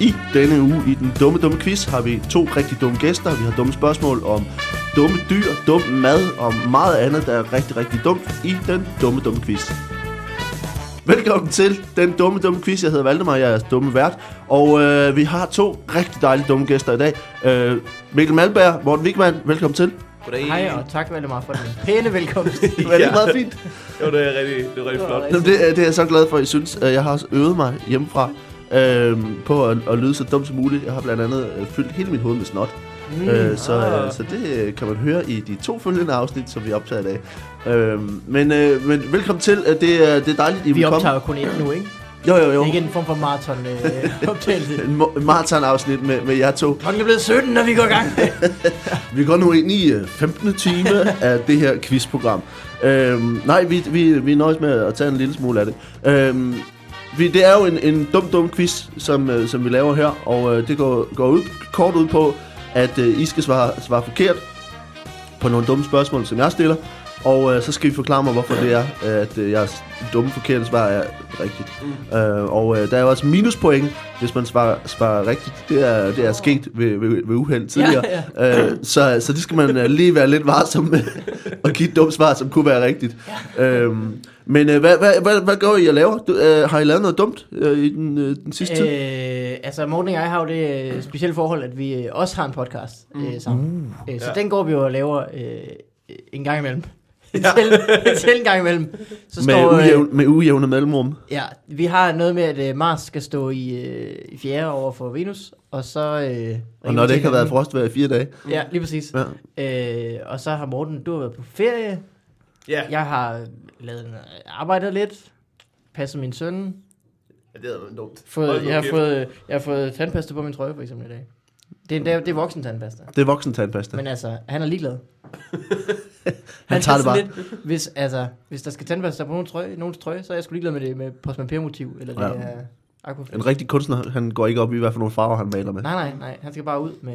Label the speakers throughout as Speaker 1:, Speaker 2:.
Speaker 1: I denne uge i den dumme, dumme quiz har vi to rigtig dumme gæster. Vi har dumme spørgsmål om dumme dyr, dum mad og meget andet, der er rigtig, rigtig dumt i den dumme, dumme quiz. Velkommen til den dumme, dumme quiz. Jeg hedder Valdemar, jeg er jeres dumme vært. Og øh, vi har to rigtig dejlige dumme gæster i dag. Øh, Mikkel Malberg, Morten Wigman, velkommen til.
Speaker 2: Goddag.
Speaker 3: Hej, og tak Valdemar for den pæne velkomst.
Speaker 1: Det var det ikke meget fint.
Speaker 2: Jo, det er rigtig, det er rigtig
Speaker 3: Det var
Speaker 2: flot.
Speaker 3: rigtig-
Speaker 1: Jamen, det, er- det er jeg så glad for, at I synes. Øh, Jeg har også øvet mig hjemmefra øh, på at, at lyde så dumt som muligt. Jeg har blandt andet øh, fyldt hele mit hoved med snot. Mm, øh, så, øh,
Speaker 2: ah.
Speaker 1: så det øh, kan man høre i de to følgende afsnit, som vi optager i dag. Øh, men, øh, men velkommen til. Øh, Det, er- det er dejligt, I
Speaker 3: Vi
Speaker 1: vil komme.
Speaker 3: optager jo kun ét nu, ikke?
Speaker 1: Jo, jo, jo.
Speaker 3: Det er ikke en form for maraton øh, optagelse.
Speaker 1: En mo- en maraton-afsnit med, med jer to.
Speaker 3: Klokken er blevet 17, når vi går i gang.
Speaker 1: Vi går nu ind i øh, 15. time af det her quizprogram. Øhm, nej, vi, vi, vi nøjes med at tage en lille smule af det. Øhm, vi, det er jo en, en dum, dum quiz, som, øh, som vi laver her, og øh, det går, går ud, kort ud på, at øh, I skal svare, svare forkert på nogle dumme spørgsmål, som jeg stiller, og øh, så skal I forklare mig, hvorfor det er, øh, at øh, jeres dumme, forkerte svar er rigtigt.
Speaker 3: Mm.
Speaker 1: Øh, og øh, der er jo også minuspoint, hvis man svarer, svarer rigtigt. Det er, det er sket ved, ved, ved uheld tidligere.
Speaker 3: Ja,
Speaker 1: Øh, så, så det skal man øh, lige være lidt varsom med at give et dumt svar, som kunne være rigtigt. Øhm, men øh, hvad, hvad, hvad, hvad gør I og laver? Du, øh, har I lavet noget dumt øh, i den, øh, den sidste øh, tid?
Speaker 3: øh, altså, Morten og jeg har jo det øh, specielle forhold, at vi øh, også har en podcast øh, sammen.
Speaker 1: Uh.
Speaker 3: Øh, så
Speaker 2: Ja.
Speaker 3: den går vi jo og laver øh, en gang imellem. Selv, selv en gang imellem. Så
Speaker 1: Med,
Speaker 3: øh,
Speaker 1: ujævn, med ujævne mellemrum?
Speaker 3: Ja, vi har noget med, at øh, Mars skal stå i, øh, i fjerde over for Venus, og så... Øh, ringer
Speaker 1: Og når
Speaker 3: vi
Speaker 1: det ikke har været
Speaker 3: til hinanden.
Speaker 1: frostvejr i fire dage?
Speaker 3: Ja, lige præcis.
Speaker 1: Ja.
Speaker 3: Øh, og så har Morten, du har været på ferie.
Speaker 2: Ja,
Speaker 3: Jeg har øh, lavet noget- arbejdet lidt, passet min søn.
Speaker 2: ja det er dumt. Hold
Speaker 3: Fået,
Speaker 2: nu
Speaker 3: jeg, har
Speaker 2: kæft.
Speaker 3: fået, jeg har fået tandpasta på min trøje, for eksempel i dag. Det er, det er, det er voksen tandpasta.
Speaker 1: Det er voksentandpasta.
Speaker 3: Men altså, han er ligeglad.
Speaker 1: Han tager det bare.
Speaker 3: Lidt, hvis, altså, hvis der skal tandpasta på nogen trøje, nogens trøje, så er jeg sgu ligeglad med det med Postman Per-motiv, eller det
Speaker 1: Ja.
Speaker 3: er aquafil.
Speaker 1: En rigtig kunstner, han går ikke op i, hvad for nogle farver han maler med.
Speaker 3: Nej, nej, nej. Han skal bare ud med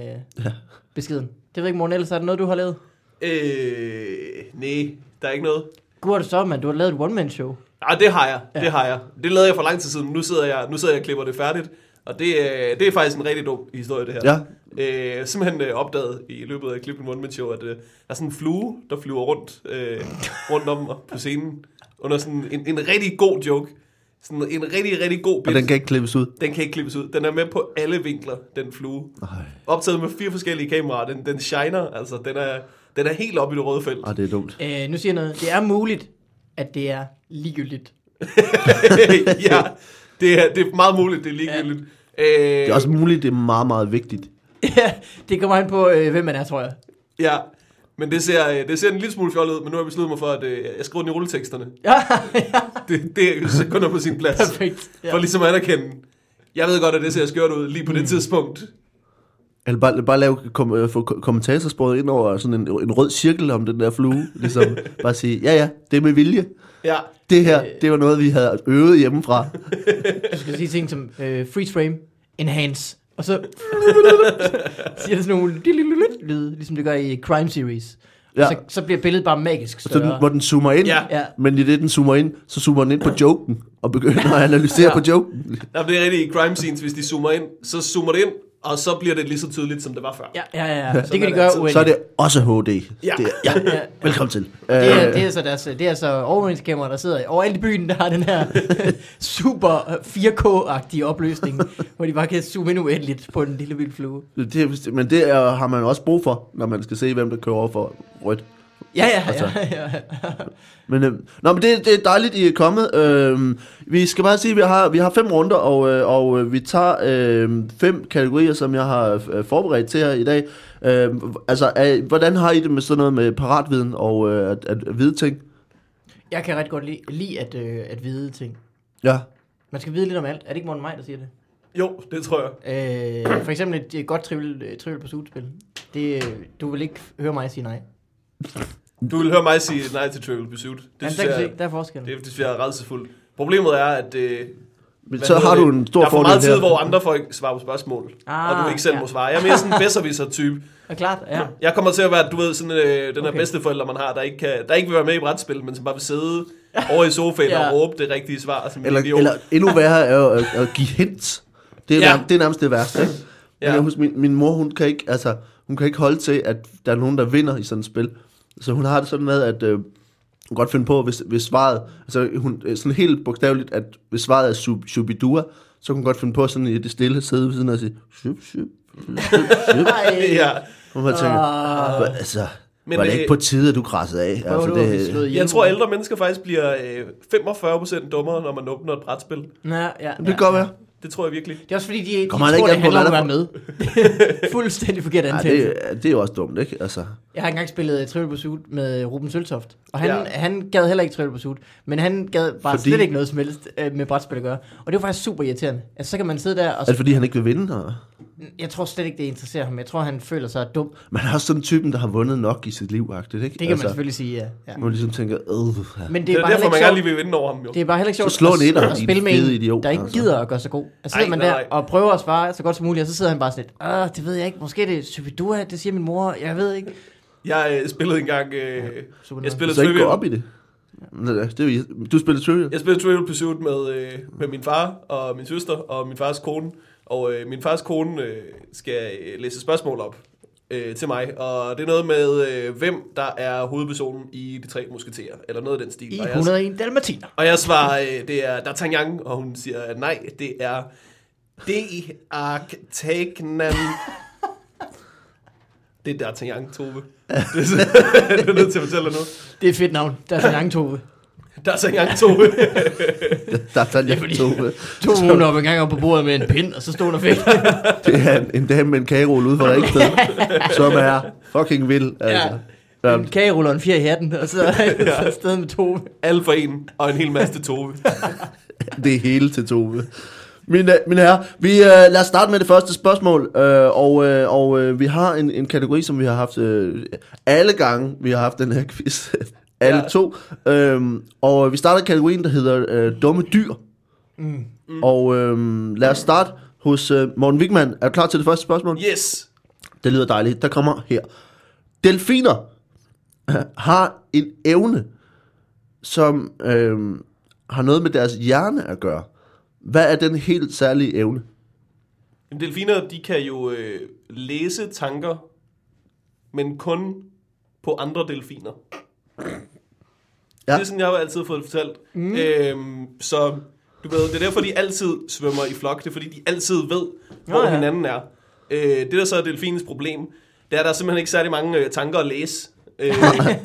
Speaker 3: beskeden. Det ved jeg ikke, Morten, ellers er det noget, du har lavet?
Speaker 2: Øh, nej, der er ikke noget.
Speaker 3: Gud, er det så, mand. Du har lavet et one-man-show.
Speaker 2: Nej, det har jeg,
Speaker 3: Ja.
Speaker 2: det har jeg. Det lavede jeg for lang tid siden, men nu sidder jeg, nu sidder jeg og klipper det færdigt. Og det, øh, det er faktisk en rigtig dum historie, det her.
Speaker 1: Ja,
Speaker 2: Øh, simpelthen øh, opdaget i løbet af Clip One Man Show, at øh, der er sådan en flue, der flyver rundt, øh, rundt om mig på scenen. Under sådan en, en rigtig god joke. Sådan en rigtig, rigtig god
Speaker 1: og
Speaker 2: bit.
Speaker 1: den kan ikke klippes ud.
Speaker 2: den kan ikke klippes ud. Den er med på alle vinkler, den flue.
Speaker 1: Nej,
Speaker 2: Optaget med fire forskellige kameraer. Den, den shiner, altså den er, den er helt oppe i det røde felt.
Speaker 1: ah, det er dumt.
Speaker 3: Øh, nu siger jeg noget. Det er muligt, at det er ligegyldigt.
Speaker 2: ja, det er, det er meget muligt, det er ligegyldigt. Øh,
Speaker 1: Det er også muligt, det er meget, meget vigtigt.
Speaker 3: Ja, det kommer an på, øh, hvem man er, tror jeg.
Speaker 2: Ja, men det ser, øh, det ser en lille smule fjollet ud, men nu har jeg besluttet mig for, at øh, jeg skriver den i rulleteksterne.
Speaker 3: Ja, ja.
Speaker 2: Det, det er sekunder på sin plads.
Speaker 3: Perfekt. Ja.
Speaker 2: For ligesom at anerkende, jeg ved godt, at det ser skørt ud lige
Speaker 1: Mm.
Speaker 2: på det tidspunkt.
Speaker 1: Eller bare, bare lave kom, øh, få ko- kommentatorsproget ind over sådan en, en rød cirkel om den der flue. Ligesom bare sige, ja ja, det er med vilje.
Speaker 2: Ja,
Speaker 1: Det
Speaker 3: Øh.
Speaker 1: her, det var noget, vi havde øvet hjemmefra.
Speaker 3: Du skal sige ting som øh, freeze frame, enhance, og så siger det sådan nogle lyde, ligesom det gør i Crime Series. Ja.
Speaker 1: Ja.
Speaker 3: Så, så bliver billedet bare magisk
Speaker 1: Så den,
Speaker 3: større.
Speaker 1: hvor den zoomer ind,
Speaker 2: Ja.
Speaker 3: Ja.
Speaker 1: men i det, den zoomer ind, så zoomer den ind på joken, og begynder at analysere ja. på joken.
Speaker 2: Jamen, det er rigtigt i crime scenes, hvis de zoomer ind, så zoomer det ind, og så bliver det lige så tydeligt, som det var før.
Speaker 3: Ja, ja, ja. Det
Speaker 2: Sådan
Speaker 3: kan
Speaker 2: er det
Speaker 3: de gøre
Speaker 2: altid.
Speaker 3: uendeligt.
Speaker 1: Så er det også HD.
Speaker 2: Ja.
Speaker 1: Det er, ja.
Speaker 3: Ja.
Speaker 1: Velkommen til.
Speaker 3: Det er,
Speaker 1: Øh,
Speaker 3: det er så deres, det er så overvågningskamera, der sidder overalt i byen, der har den her super 4K-agtige opløsning, hvor de bare kan zoome ind uendeligt på den lille vilde flue.
Speaker 1: det er, men det er, har man også brug for, når man skal se, hvem der kører over for rødt.
Speaker 3: Ja, ja,
Speaker 1: Altså.
Speaker 3: ja, ja, ja.
Speaker 1: Men, øh, nå, men det, det er dejligt, I er kommet. Øh, vi skal bare sige, at vi har, vi har fem runder, og, øh, og øh, vi tager øh, fem kategorier, som jeg har øh, forberedt til jer i dag. Øh, altså, øh, hvordan har I det med sådan noget med paratviden og øh, at, at vide ting?
Speaker 3: Jeg kan ret godt lide, lide at, øh, at vide ting.
Speaker 1: Ja.
Speaker 3: Man skal vide lidt om alt. Er det ikke Morten Maj, der siger det?
Speaker 2: Jo, det tror jeg.
Speaker 3: Øh, for eksempel et, et godt trivial, trivial på slutspil. Det, øh, du vil ikke høre mig sige nej.
Speaker 2: Du vil høre mig sige nej til Trivial Pursuit. Det
Speaker 3: Det
Speaker 2: synes
Speaker 3: der, kan
Speaker 2: jeg,
Speaker 3: se, der er forskel.
Speaker 2: det, det synes jeg er redselsfuldt. Problemet er, at... Øh,
Speaker 1: Men
Speaker 2: hvad
Speaker 1: så
Speaker 2: hedder
Speaker 1: har
Speaker 2: det?
Speaker 1: du en stor
Speaker 2: Der er for
Speaker 1: fordel
Speaker 2: meget tid,
Speaker 1: her.
Speaker 2: hvor andre folk svarer på spørgsmål, ah, og du ikke selv
Speaker 3: ja.
Speaker 2: ja. må svare. Jeg er mere sådan en bedserviser-type.
Speaker 3: Er klart, ja.
Speaker 2: Jeg kommer til at være, du ved, sådan øh, den her
Speaker 3: Okay.
Speaker 2: okay. bedsteforælder, man har, der ikke, kan, der ikke vil være med i brætspil, men som bare vil sidde over i sofaen
Speaker 3: Ja.
Speaker 2: ja. og råbe det rigtige svar. Som en
Speaker 1: Eller,
Speaker 2: idiot.
Speaker 1: eller endnu værre er jo at, at give hints. Det er,
Speaker 2: Ja.
Speaker 1: ja. nærmest, det er nærmest det værste. Ikke?
Speaker 2: Ja.
Speaker 1: ja. Men jeg husker, min, min mor, hun kan, ikke, altså, hun kan ikke holde til, at der er nogen, der vinder i sådan et spil. Så hun har det sådan med, at øh, hun kan godt finde på, hvis, hvis svaret, altså hun, øh, sådan helt bogstaveligt, at hvis svaret er sub, subidua, så kan hun godt finde på sådan i det stille at sidde ved siden af og sige, sub, sub, sub, sub.
Speaker 2: ja. altså,
Speaker 1: Hun bare tænker,
Speaker 3: Ah.
Speaker 1: "Hva- altså,
Speaker 2: Men øh,
Speaker 1: Men var det
Speaker 2: det-
Speaker 1: ikke på tide, at du græssede af?
Speaker 3: Prøver
Speaker 1: Altså,
Speaker 3: du at blive slået
Speaker 1: det,
Speaker 3: ihjel?
Speaker 2: Jeg tror, ældre mennesker faktisk bliver øh, 45% dummere, når man åbner et brætspil.
Speaker 3: Nå, ja, ja.
Speaker 1: det kan godt være.
Speaker 2: Det tror jeg virkelig.
Speaker 3: Det er også fordi, de, de
Speaker 1: Kommer
Speaker 3: tror,
Speaker 1: han ikke
Speaker 3: det
Speaker 1: an på,
Speaker 3: handler om at
Speaker 1: hvad
Speaker 3: være med. Fuldstændig forkert
Speaker 1: Ja,
Speaker 3: antagelse.
Speaker 1: det, det er jo også dumt, ikke? Altså,
Speaker 3: Jeg har engang spillet øh, Trivial Pursuit med øh, Ruben Søltoft, og han,
Speaker 2: Ja.
Speaker 3: ja. han gad heller ikke Trivial Pursuit, men han gad bare
Speaker 1: Fordi-
Speaker 3: fordi... slet ikke noget som helst øh, med brætspil at gøre. Og det var faktisk super irriterende. Altså, så kan man sidde der, og
Speaker 1: er det
Speaker 3: så,
Speaker 1: fordi, han ikke vil vinde? Og...
Speaker 3: jeg tror slet ikke, det interesserer ham. Jeg tror, han føler sig dum.
Speaker 1: Man er også sådan typen, der har vundet nok i sit liv, agtigt, ikke?
Speaker 3: Det kan altså... man selvfølgelig sige, ja. ja.
Speaker 1: Man ligesom tænker, øh,
Speaker 3: Men
Speaker 2: Det
Speaker 3: det
Speaker 2: er, det er
Speaker 3: er, bare heller
Speaker 2: derfor, man
Speaker 3: ikke
Speaker 2: gerne
Speaker 3: sjovt.
Speaker 2: lige vil vinde over ham, jo.
Speaker 3: Det er bare heller ikke sjovt
Speaker 1: Så slå en etter,
Speaker 3: at, at
Speaker 1: din
Speaker 3: spille med
Speaker 1: fede
Speaker 3: en,
Speaker 1: idiot,
Speaker 3: der ikke
Speaker 1: altså.
Speaker 3: gider at gøre sig god. Altså sidder
Speaker 2: Ej,
Speaker 3: man
Speaker 2: nej,
Speaker 3: der
Speaker 2: nej.
Speaker 3: og prøver at svare så godt som muligt, og så sidder han bare sådan lidt, "Ah, det ved jeg ikke, måske er det Supidua, det siger min mor, jeg ved ikke.
Speaker 2: Jeg øh, spillede engang... Øh,
Speaker 3: Supidua.
Speaker 2: jeg spillede
Speaker 1: så ikke gå
Speaker 2: Trivial
Speaker 1: op i det. Nå, Det er, jo- du spiller Trivial.
Speaker 2: Jeg spillede Trivial Pursuit med, øh, med min far og min søster og min fars kone. Og øh, min fars kone øh, skal øh, læse spørgsmål op øh, til mig. Og det er noget med, øh, hvem der er hovedpersonen i De Tre Musketerer. Eller noget af den stil.
Speaker 3: I
Speaker 2: og, jeg,
Speaker 3: 101 dalmatiner.
Speaker 2: og jeg svarer, øh, det er D'Artagnan. Og hun siger, at nej, det er D. Arctagnan. Det er D'Artagnan, Tove. Det er, så, det er nødt til at fortælle dig nu.
Speaker 3: Det er et fedt navn. Der er så lange Tove.
Speaker 2: D'Artagnan, Tove.
Speaker 1: Der er jeg tog.
Speaker 3: Tove hun op en gang op på bordet med en pind, og så stod der fedt.
Speaker 1: Det er en, en dame med en kagerulle ude for Ringsted, som er fucking vild. Altså. Ja.
Speaker 3: En kageruller og en fjer i hatten, og så er afsted med Tove.
Speaker 2: Alle for en, og en hel masse til Tove.
Speaker 1: Det hele til Tove. Mine, mine herrer, vi, øh, lad os starte med det første spørgsmål, øh, og, øh, og øh, vi har en, en kategori, som vi har haft øh, alle gange, vi har haft den her quiz, alle
Speaker 2: Ja.
Speaker 1: ja. to, øh, og vi starter i kategorien, der hedder øh, dumme dyr, mm. og øh, lad os starte hos øh, Morten Wigman, er du klar til det første spørgsmål?
Speaker 2: Yes!
Speaker 1: Det lyder dejligt. Der kommer her. Delfiner øh, har en evne, som øh, har noget med deres hjerne at gøre. Hvad er den helt særlige evne?
Speaker 2: Jamen, delfiner, de kan jo øh, læse tanker, men kun på andre delfiner. Ja.
Speaker 1: Ja.
Speaker 2: Det er sådan, jeg har altid fået det fortalt. Mm. Øhm, så du ved, det er derfor, de altid svømmer i flok. Det er fordi, de altid ved, hvor ja,
Speaker 3: ja.
Speaker 2: ja. hinanden er. Øh, det, der så er delfinens problem, det er, at der er simpelthen ikke særlig mange øh, tanker at læse. Øh,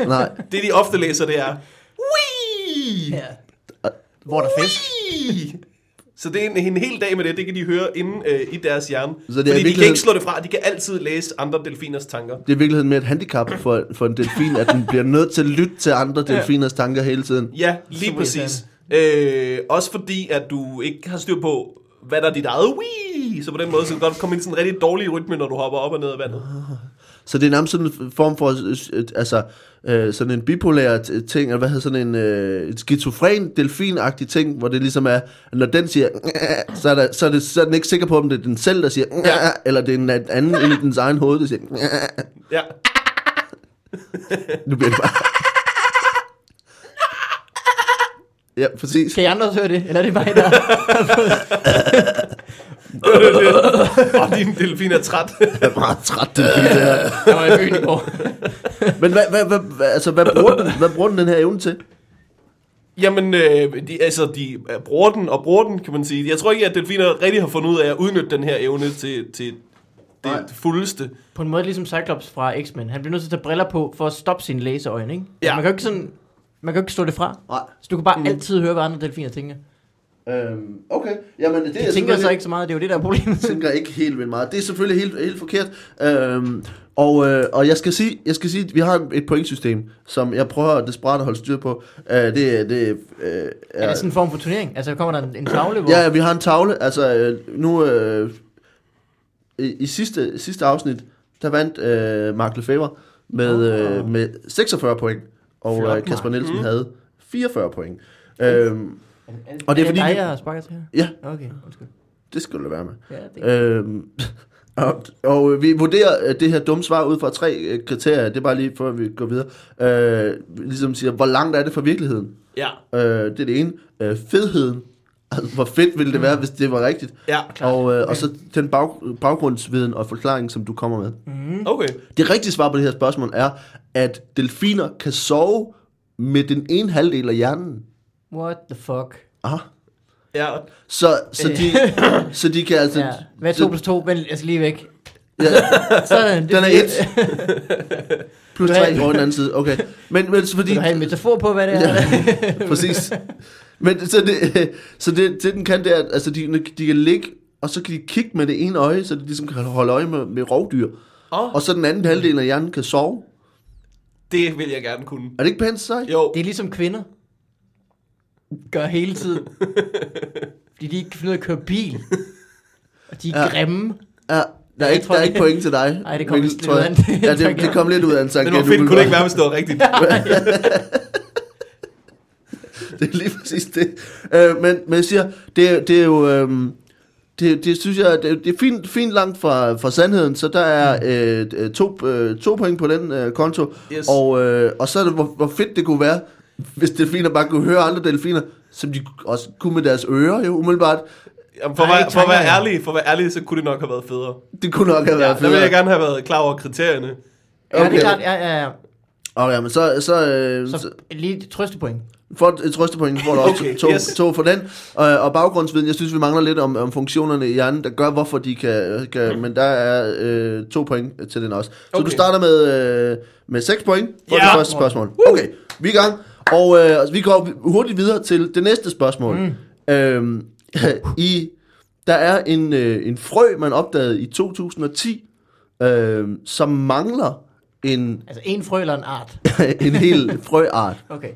Speaker 1: Nej,
Speaker 2: det, de ofte læser, det er... Wii!
Speaker 3: Ja. Hvor er der fisk?
Speaker 2: Så det er en, en hel dag med det, det kan de høre inde øh, i deres hjerne. Så
Speaker 1: er i
Speaker 2: det Fordi virkelig... de kan
Speaker 1: virkeligheden-
Speaker 2: ikke slå det fra, de kan altid læse andre delfiners tanker.
Speaker 1: det er i virkeligheden mere et handicap for, for en delfin, at den bliver nødt til at lytte til andre delfiners tanker hele tiden.
Speaker 2: Ja, lige
Speaker 3: Super
Speaker 2: præcis. Øh, også fordi, at du ikke har styr på, hvad der er dit eget Wii! Så på den måde så kan du godt komme ind i sådan en rigtig dårlig rytme, når du hopper op og ned af vandet.
Speaker 1: Så det er nærmest sådan en form for, øh, altså, øh, sådan en bipolær t- ting, eller hvad hedder sådan en, øh, en skizofren delfinagtig ting, hvor det ligesom er, når den siger, "Ngæ", så er, der, så, er det, så er den ikke sikker på, om det er den selv, der siger, "Ngæ", eller det er en anden inde i dens egen hoved, der siger, "Ngæ".
Speaker 2: Ja.
Speaker 1: nu bliver det bare... Ja, præcis.
Speaker 3: Kan I andre også høre det? Eller er det mig, der...
Speaker 2: Og din delfin er træt.
Speaker 1: Jeg er meget træt, den bil, det her.
Speaker 3: Jeg var i byen i går.
Speaker 1: Men hvad, hvad, hvad, hvad, altså, hvad, bruger den, hvad bruger den den her evne til?
Speaker 2: Jamen, øh, de, altså, de øh, bruger den og bruger den, kan man sige. Jeg tror ikke, at delfiner rigtig har fundet ud af at udnytte den her evne til, til det
Speaker 1: Nej.
Speaker 2: fuldeste.
Speaker 3: På en måde ligesom Cyclops fra X-Men. Han bliver nødt til at tage briller på for at stoppe sine laserøjne, ikke?
Speaker 2: Ja.
Speaker 3: Ja. Man kan jo ikke sådan... Man kan jo ikke slå det fra.
Speaker 1: Nej.
Speaker 3: Så du kan bare mm. altid høre, hvad andre delfiner tænker.
Speaker 1: Øhm, okay. Jamen, det, er
Speaker 3: De tænker
Speaker 1: selvfølgelig-
Speaker 3: så ikke så meget, det er jo det, der er problemet.
Speaker 1: tænker ikke helt vildt meget. Det er selvfølgelig helt, helt forkert. Øhm, og, øh, og jeg skal sige, jeg skal sige, at vi har et pointsystem, som jeg prøver desperat at holde styr på. Øh, det, er- det, øh,
Speaker 3: Er
Speaker 1: er,
Speaker 3: det sådan en form for turnering? Altså, kommer der en, en tavle, hvor...
Speaker 1: ja, ja, vi har en tavle. Altså, øh, nu øh, i, i sidste, sidste afsnit, der vandt øh, Mark Lefebvre med, øh, med 46 point, og
Speaker 3: Flot,
Speaker 1: øh, Kasper
Speaker 3: Mark.
Speaker 1: Nielsen mm. havde 44 point. Øhm, Og det er fordi,
Speaker 3: Er det dig,
Speaker 1: vi-
Speaker 3: der sparker til her?
Speaker 1: ja,
Speaker 3: Okay, undskyld.
Speaker 1: det skulle det være med.
Speaker 3: Ja, det
Speaker 1: Øhm, og, og øh, vi vurderer øh, det her dumme svar ud fra tre øh, kriterier. Det er bare lige før vi går videre. Øh, vi ligesom siger, hvor langt er det fra virkeligheden?
Speaker 2: Ja.
Speaker 1: Øh, det er det ene. Øh, fedheden. Altså, hvor fedt ville det
Speaker 3: Mm.
Speaker 1: være, hvis det var rigtigt.
Speaker 2: Ja,
Speaker 1: Og, øh, og så den bag, baggrundsviden og forklaring, som du kommer med.
Speaker 3: Mm.
Speaker 2: okay.
Speaker 1: Det rigtige svar på det her spørgsmål er, at delfiner kan sove med den ene halvdel af hjernen.
Speaker 3: What the fuck?
Speaker 1: Aha.
Speaker 2: Ja,
Speaker 1: Så, så, de, så de kan altså...
Speaker 3: Ja. Hvad er 2 plus 2? Vent, jeg skal lige væk. Sådan. det
Speaker 1: Den er
Speaker 3: fordi-
Speaker 1: et. Plus tre over den anden side. Okay. Men, men så fordi...
Speaker 3: Vil du have en metafor på, hvad det er?
Speaker 1: Ja, præcis. Men så det, så det, det den kan, det er, at altså, de, de kan ligge, og så kan de kigge med det ene øje, så de ligesom kan holde øje med, med rovdyr.
Speaker 2: Åh.
Speaker 1: Og så den
Speaker 3: Mm.
Speaker 1: anden halvdel af hjernen kan sove.
Speaker 2: det vil jeg gerne kunne.
Speaker 1: Er det ikke pænt sejt?
Speaker 2: Jo,
Speaker 3: Det er ligesom kvinder. Gør hele tiden. Fordi de ikke kan finde ud af at køre bil. Og de er
Speaker 1: Ja.
Speaker 3: ja. grimme.
Speaker 1: Ja, der er,
Speaker 3: Jeg
Speaker 1: ikke,
Speaker 3: tror
Speaker 1: der er
Speaker 3: ikke-
Speaker 1: ikke point til dig.
Speaker 3: Ej, det kom
Speaker 1: Mikkel,
Speaker 3: vist lidt
Speaker 1: tror
Speaker 3: ud
Speaker 1: jeg.
Speaker 3: af en-
Speaker 1: Ja, det, det kom lidt ud af en
Speaker 2: men
Speaker 1: tangent.
Speaker 2: hvor fedt kunne det ikke
Speaker 1: umiddelbart.
Speaker 2: være, hvis det var rigtigt.
Speaker 1: Det er lige præcis det. Øh, men, men jeg siger, det, det er jo... Øh, det, det synes jeg, det, det er fint, fint langt fra, fra sandheden, så der er øh, øh, to, øh, to point på den øh, konto.
Speaker 2: Yes.
Speaker 1: Og, øh, og så er det, hvor, hvor fedt det kunne være, hvis delfiner bare kunne høre andre delfiner, som de også kunne med deres ører jo umiddelbart.
Speaker 2: Jamen, for, at
Speaker 3: Ej,
Speaker 2: være, for, at være
Speaker 3: tanker, ja.
Speaker 2: ærlig, for at være ærlig, så kunne det nok have været federe.
Speaker 1: Det kunne nok have
Speaker 2: Ja,
Speaker 1: været
Speaker 2: der ville
Speaker 1: fedt.
Speaker 2: jeg gerne have været klar over kriterierne.
Speaker 3: Ja, okay. det
Speaker 1: Okay.
Speaker 3: er klart. Ja, ja, ja.
Speaker 1: Og ja, men så, så, øh, så
Speaker 3: Så lige et trøstepoint.
Speaker 1: For et trøstepoint får du også
Speaker 2: Okay,
Speaker 1: okay, to,
Speaker 2: yes.
Speaker 1: yes. to for den. Øh, Og, og baggrundsviden, jeg synes, vi mangler lidt om, om funktionerne i hjernen, der gør, hvorfor de kan... kan men der er øh, to point til den også. Så
Speaker 2: Mm. Okay.
Speaker 1: okay. du starter med, øh, med seks point for
Speaker 2: Ja.
Speaker 1: det første spørgsmål. Okay, vi er i gang. Og øh, vi går hurtigt videre til det næste spørgsmål. Mm. Øhm, i, der er en, øh, en frø, man opdagede i 2010, øh, som mangler en,
Speaker 3: Altså en frø eller en art.
Speaker 1: en hel frøart
Speaker 3: Okay.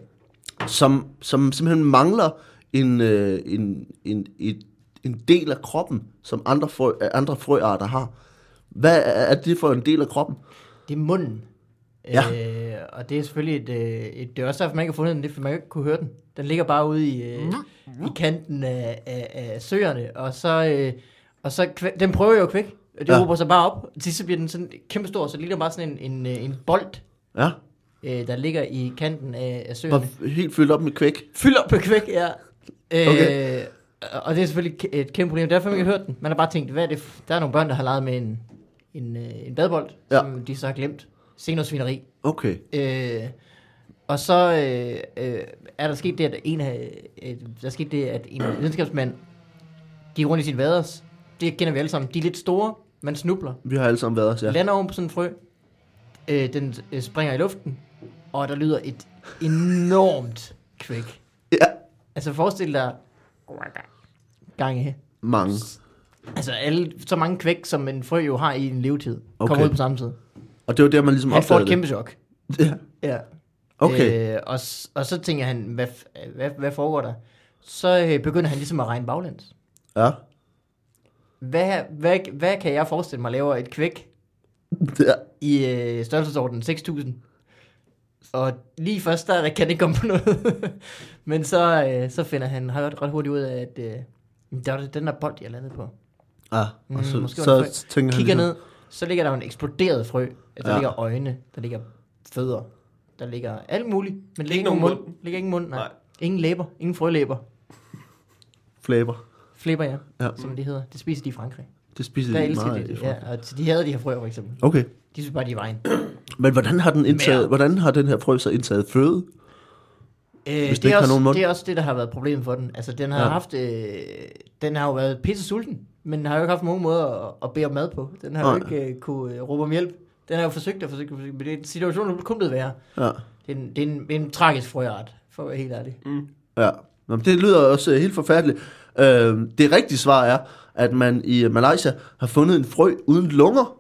Speaker 1: som, som simpelthen mangler en, øh, en, en, et, en del af kroppen, som andre, frø, øh, andre frøarter har. Hvad er- er det for en del af kroppen?
Speaker 3: Det er munden.
Speaker 1: Ja.
Speaker 3: Øh, og det er selvfølgelig et, øh, et... Det er også derfor, man ikke har fundet den. Det er, fordi man ikke kunne høre den. Den ligger bare ude i, øh, i kanten af, af, af søerne. Og så... Øh, og så kvæ- den prøver jo kvæk. Det ja.
Speaker 1: Ja.
Speaker 3: råber sig bare op. Til sidst så bliver den sådan kæmpestor, så det ligner bare sådan en, en, øh, en bold,
Speaker 1: Ja,
Speaker 3: øh, der ligger i kanten af, af søerne.
Speaker 1: bare helt fyldt op med kvæk.
Speaker 3: Fyld op med kvæk, ja. Øh,
Speaker 1: Okay.
Speaker 3: okay. Og det er selvfølgelig k- et kæmpe problem. Derfor har man ikke hørt den. Man har bare tænkt, hvad er det? f- Der er nogle børn, der har leget med en, en, øh, en badbold,
Speaker 1: Ja.
Speaker 3: ja. som de så har glemt. Se noget svineri.
Speaker 1: Okay.
Speaker 3: Øh, og så øh, øh, er der sket det, at en, af- øh, der er sket det, at en videnskabsmand gik rundt i sin vaders. Det kender vi alle sammen. De er lidt store. Man snubler.
Speaker 1: Vi har alle sammen været os,
Speaker 3: Ja.
Speaker 1: ja.
Speaker 3: Lander oven på sådan en frø. Øh, den øh, springer i luften. Og der lyder et enormt kvæk.
Speaker 1: Ja,
Speaker 3: Altså forestil dig gange.
Speaker 1: mange.
Speaker 3: Altså alle, så mange kvæk, som en frø jo har i en levetid, okay.
Speaker 1: Okay.
Speaker 3: kommer ud på samme tid.
Speaker 1: Og det var der, man ligesom
Speaker 3: Han får
Speaker 1: opdagede
Speaker 3: et kæmpe chok.
Speaker 1: det. Ja.
Speaker 3: Ja.
Speaker 1: Okay.
Speaker 3: Øh, og, s- og så tænker han, hvad, f- hvad, hvad foregår der? Så øh, begynder han ligesom at regne baglæns.
Speaker 1: Ja.
Speaker 3: Hvad, hvad, hvad kan jeg forestille mig laver et kvæk
Speaker 1: ja.
Speaker 3: i øh, størrelsesordenen 6.000? Og lige først der, der kan det ikke komme på noget. Men så, øh, så finder han ret, ret hurtigt ud af, at øh, der var den der bold, jeg landede på.
Speaker 1: ja. Og så,
Speaker 3: Mm,
Speaker 1: mm,
Speaker 3: måske
Speaker 1: så,
Speaker 3: var det
Speaker 1: så tænker
Speaker 3: kigger
Speaker 1: han ligesom,
Speaker 3: ned, så ligger der jo en eksploderet frø. Altså, Der
Speaker 1: Ja.
Speaker 3: ja. ligger øjne, der ligger fødder, der ligger alt muligt. Men der ligger
Speaker 2: Ikke
Speaker 3: ikke nogen
Speaker 2: nogen
Speaker 3: mund. ligger ingen mund, nej.
Speaker 2: Nej.
Speaker 3: nej. Ingen læber, ingen frølæber.
Speaker 1: flæber.
Speaker 3: Flæber, ja,
Speaker 1: Ja.
Speaker 3: ja, som det hedder. Det spiser de i Frankrig.
Speaker 1: Det spiser
Speaker 3: Der
Speaker 1: de
Speaker 3: elsker
Speaker 1: meget.
Speaker 3: de det.
Speaker 1: Ja.
Speaker 3: Ja, og de havde de her frøer, for eksempel.
Speaker 1: Okay.
Speaker 3: De synes bare, de er vejen.
Speaker 1: Men hvordan har den, indtaget,
Speaker 3: Mere.
Speaker 1: hvordan har den her frø så indtaget føde?
Speaker 3: Øh,
Speaker 1: Hvis
Speaker 3: det,
Speaker 1: den ikke
Speaker 3: er
Speaker 1: har
Speaker 3: også,
Speaker 1: nogen mund.
Speaker 3: det er også det, der har været problemet for den. Altså, den har
Speaker 1: Ja.
Speaker 3: ja. haft... Øh, den har jo været pisse sulten, men den har jo ikke haft nogen måde at, at bede om mad på. Den har jo
Speaker 1: Nej.
Speaker 3: ikke øh, kunne øh, råbe om hjælp. Den har jo forsøgt og forsøgt, og forsøgt men det er en situation, der kun blevet værre.
Speaker 1: Ja.
Speaker 3: Det er en, det er en, det er en tragisk frøart, for at være helt ærlig. Mm.
Speaker 1: Ja, Nå, men det lyder også øh, helt forfærdeligt. Øh, det rigtige svar er, at man i øh, Malaysia har fundet en frø uden lunger.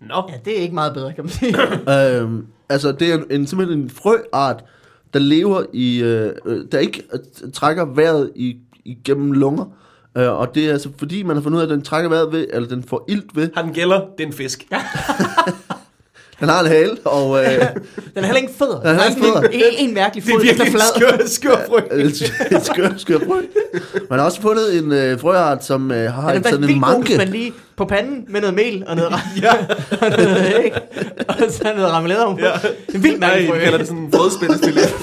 Speaker 2: Nå,
Speaker 3: Ja, det er ikke meget bedre, kan man sige.
Speaker 1: Øh, altså, det er en, en, simpelthen en frøart, der lever i, øh, øh, der ikke øh, trækker vejret i, igennem lunger. Øh, og det er altså fordi, man har fundet ud af, at den trækker vejret ved, eller den får ilt ved.
Speaker 2: har den gælder, det er en fisk.
Speaker 1: Den har en hale, og... Øh,
Speaker 3: Den er heller ikke fødder.
Speaker 1: Den er
Speaker 3: Der
Speaker 1: ikke
Speaker 3: sådan En, en, en mærkelig
Speaker 2: Det er
Speaker 3: fod, den
Speaker 2: virkelig
Speaker 3: er
Speaker 2: en
Speaker 3: flad.
Speaker 2: skør, skør frø.
Speaker 1: øh, et skør, skør frø. Man har også fundet en øh, frøart, som øh, har
Speaker 3: Den er
Speaker 1: en, sådan
Speaker 3: faktisk
Speaker 1: en
Speaker 3: vildt god, hvis
Speaker 1: manke.
Speaker 3: man lige på panden med noget mel og noget,
Speaker 2: Ja,
Speaker 3: og noget æg, og så noget ramelade om.
Speaker 2: ja.
Speaker 3: Det er en vildt
Speaker 2: Nej,
Speaker 3: mærkelig
Speaker 2: vi kalder
Speaker 3: frø.
Speaker 2: det sådan en brødspændesfilet.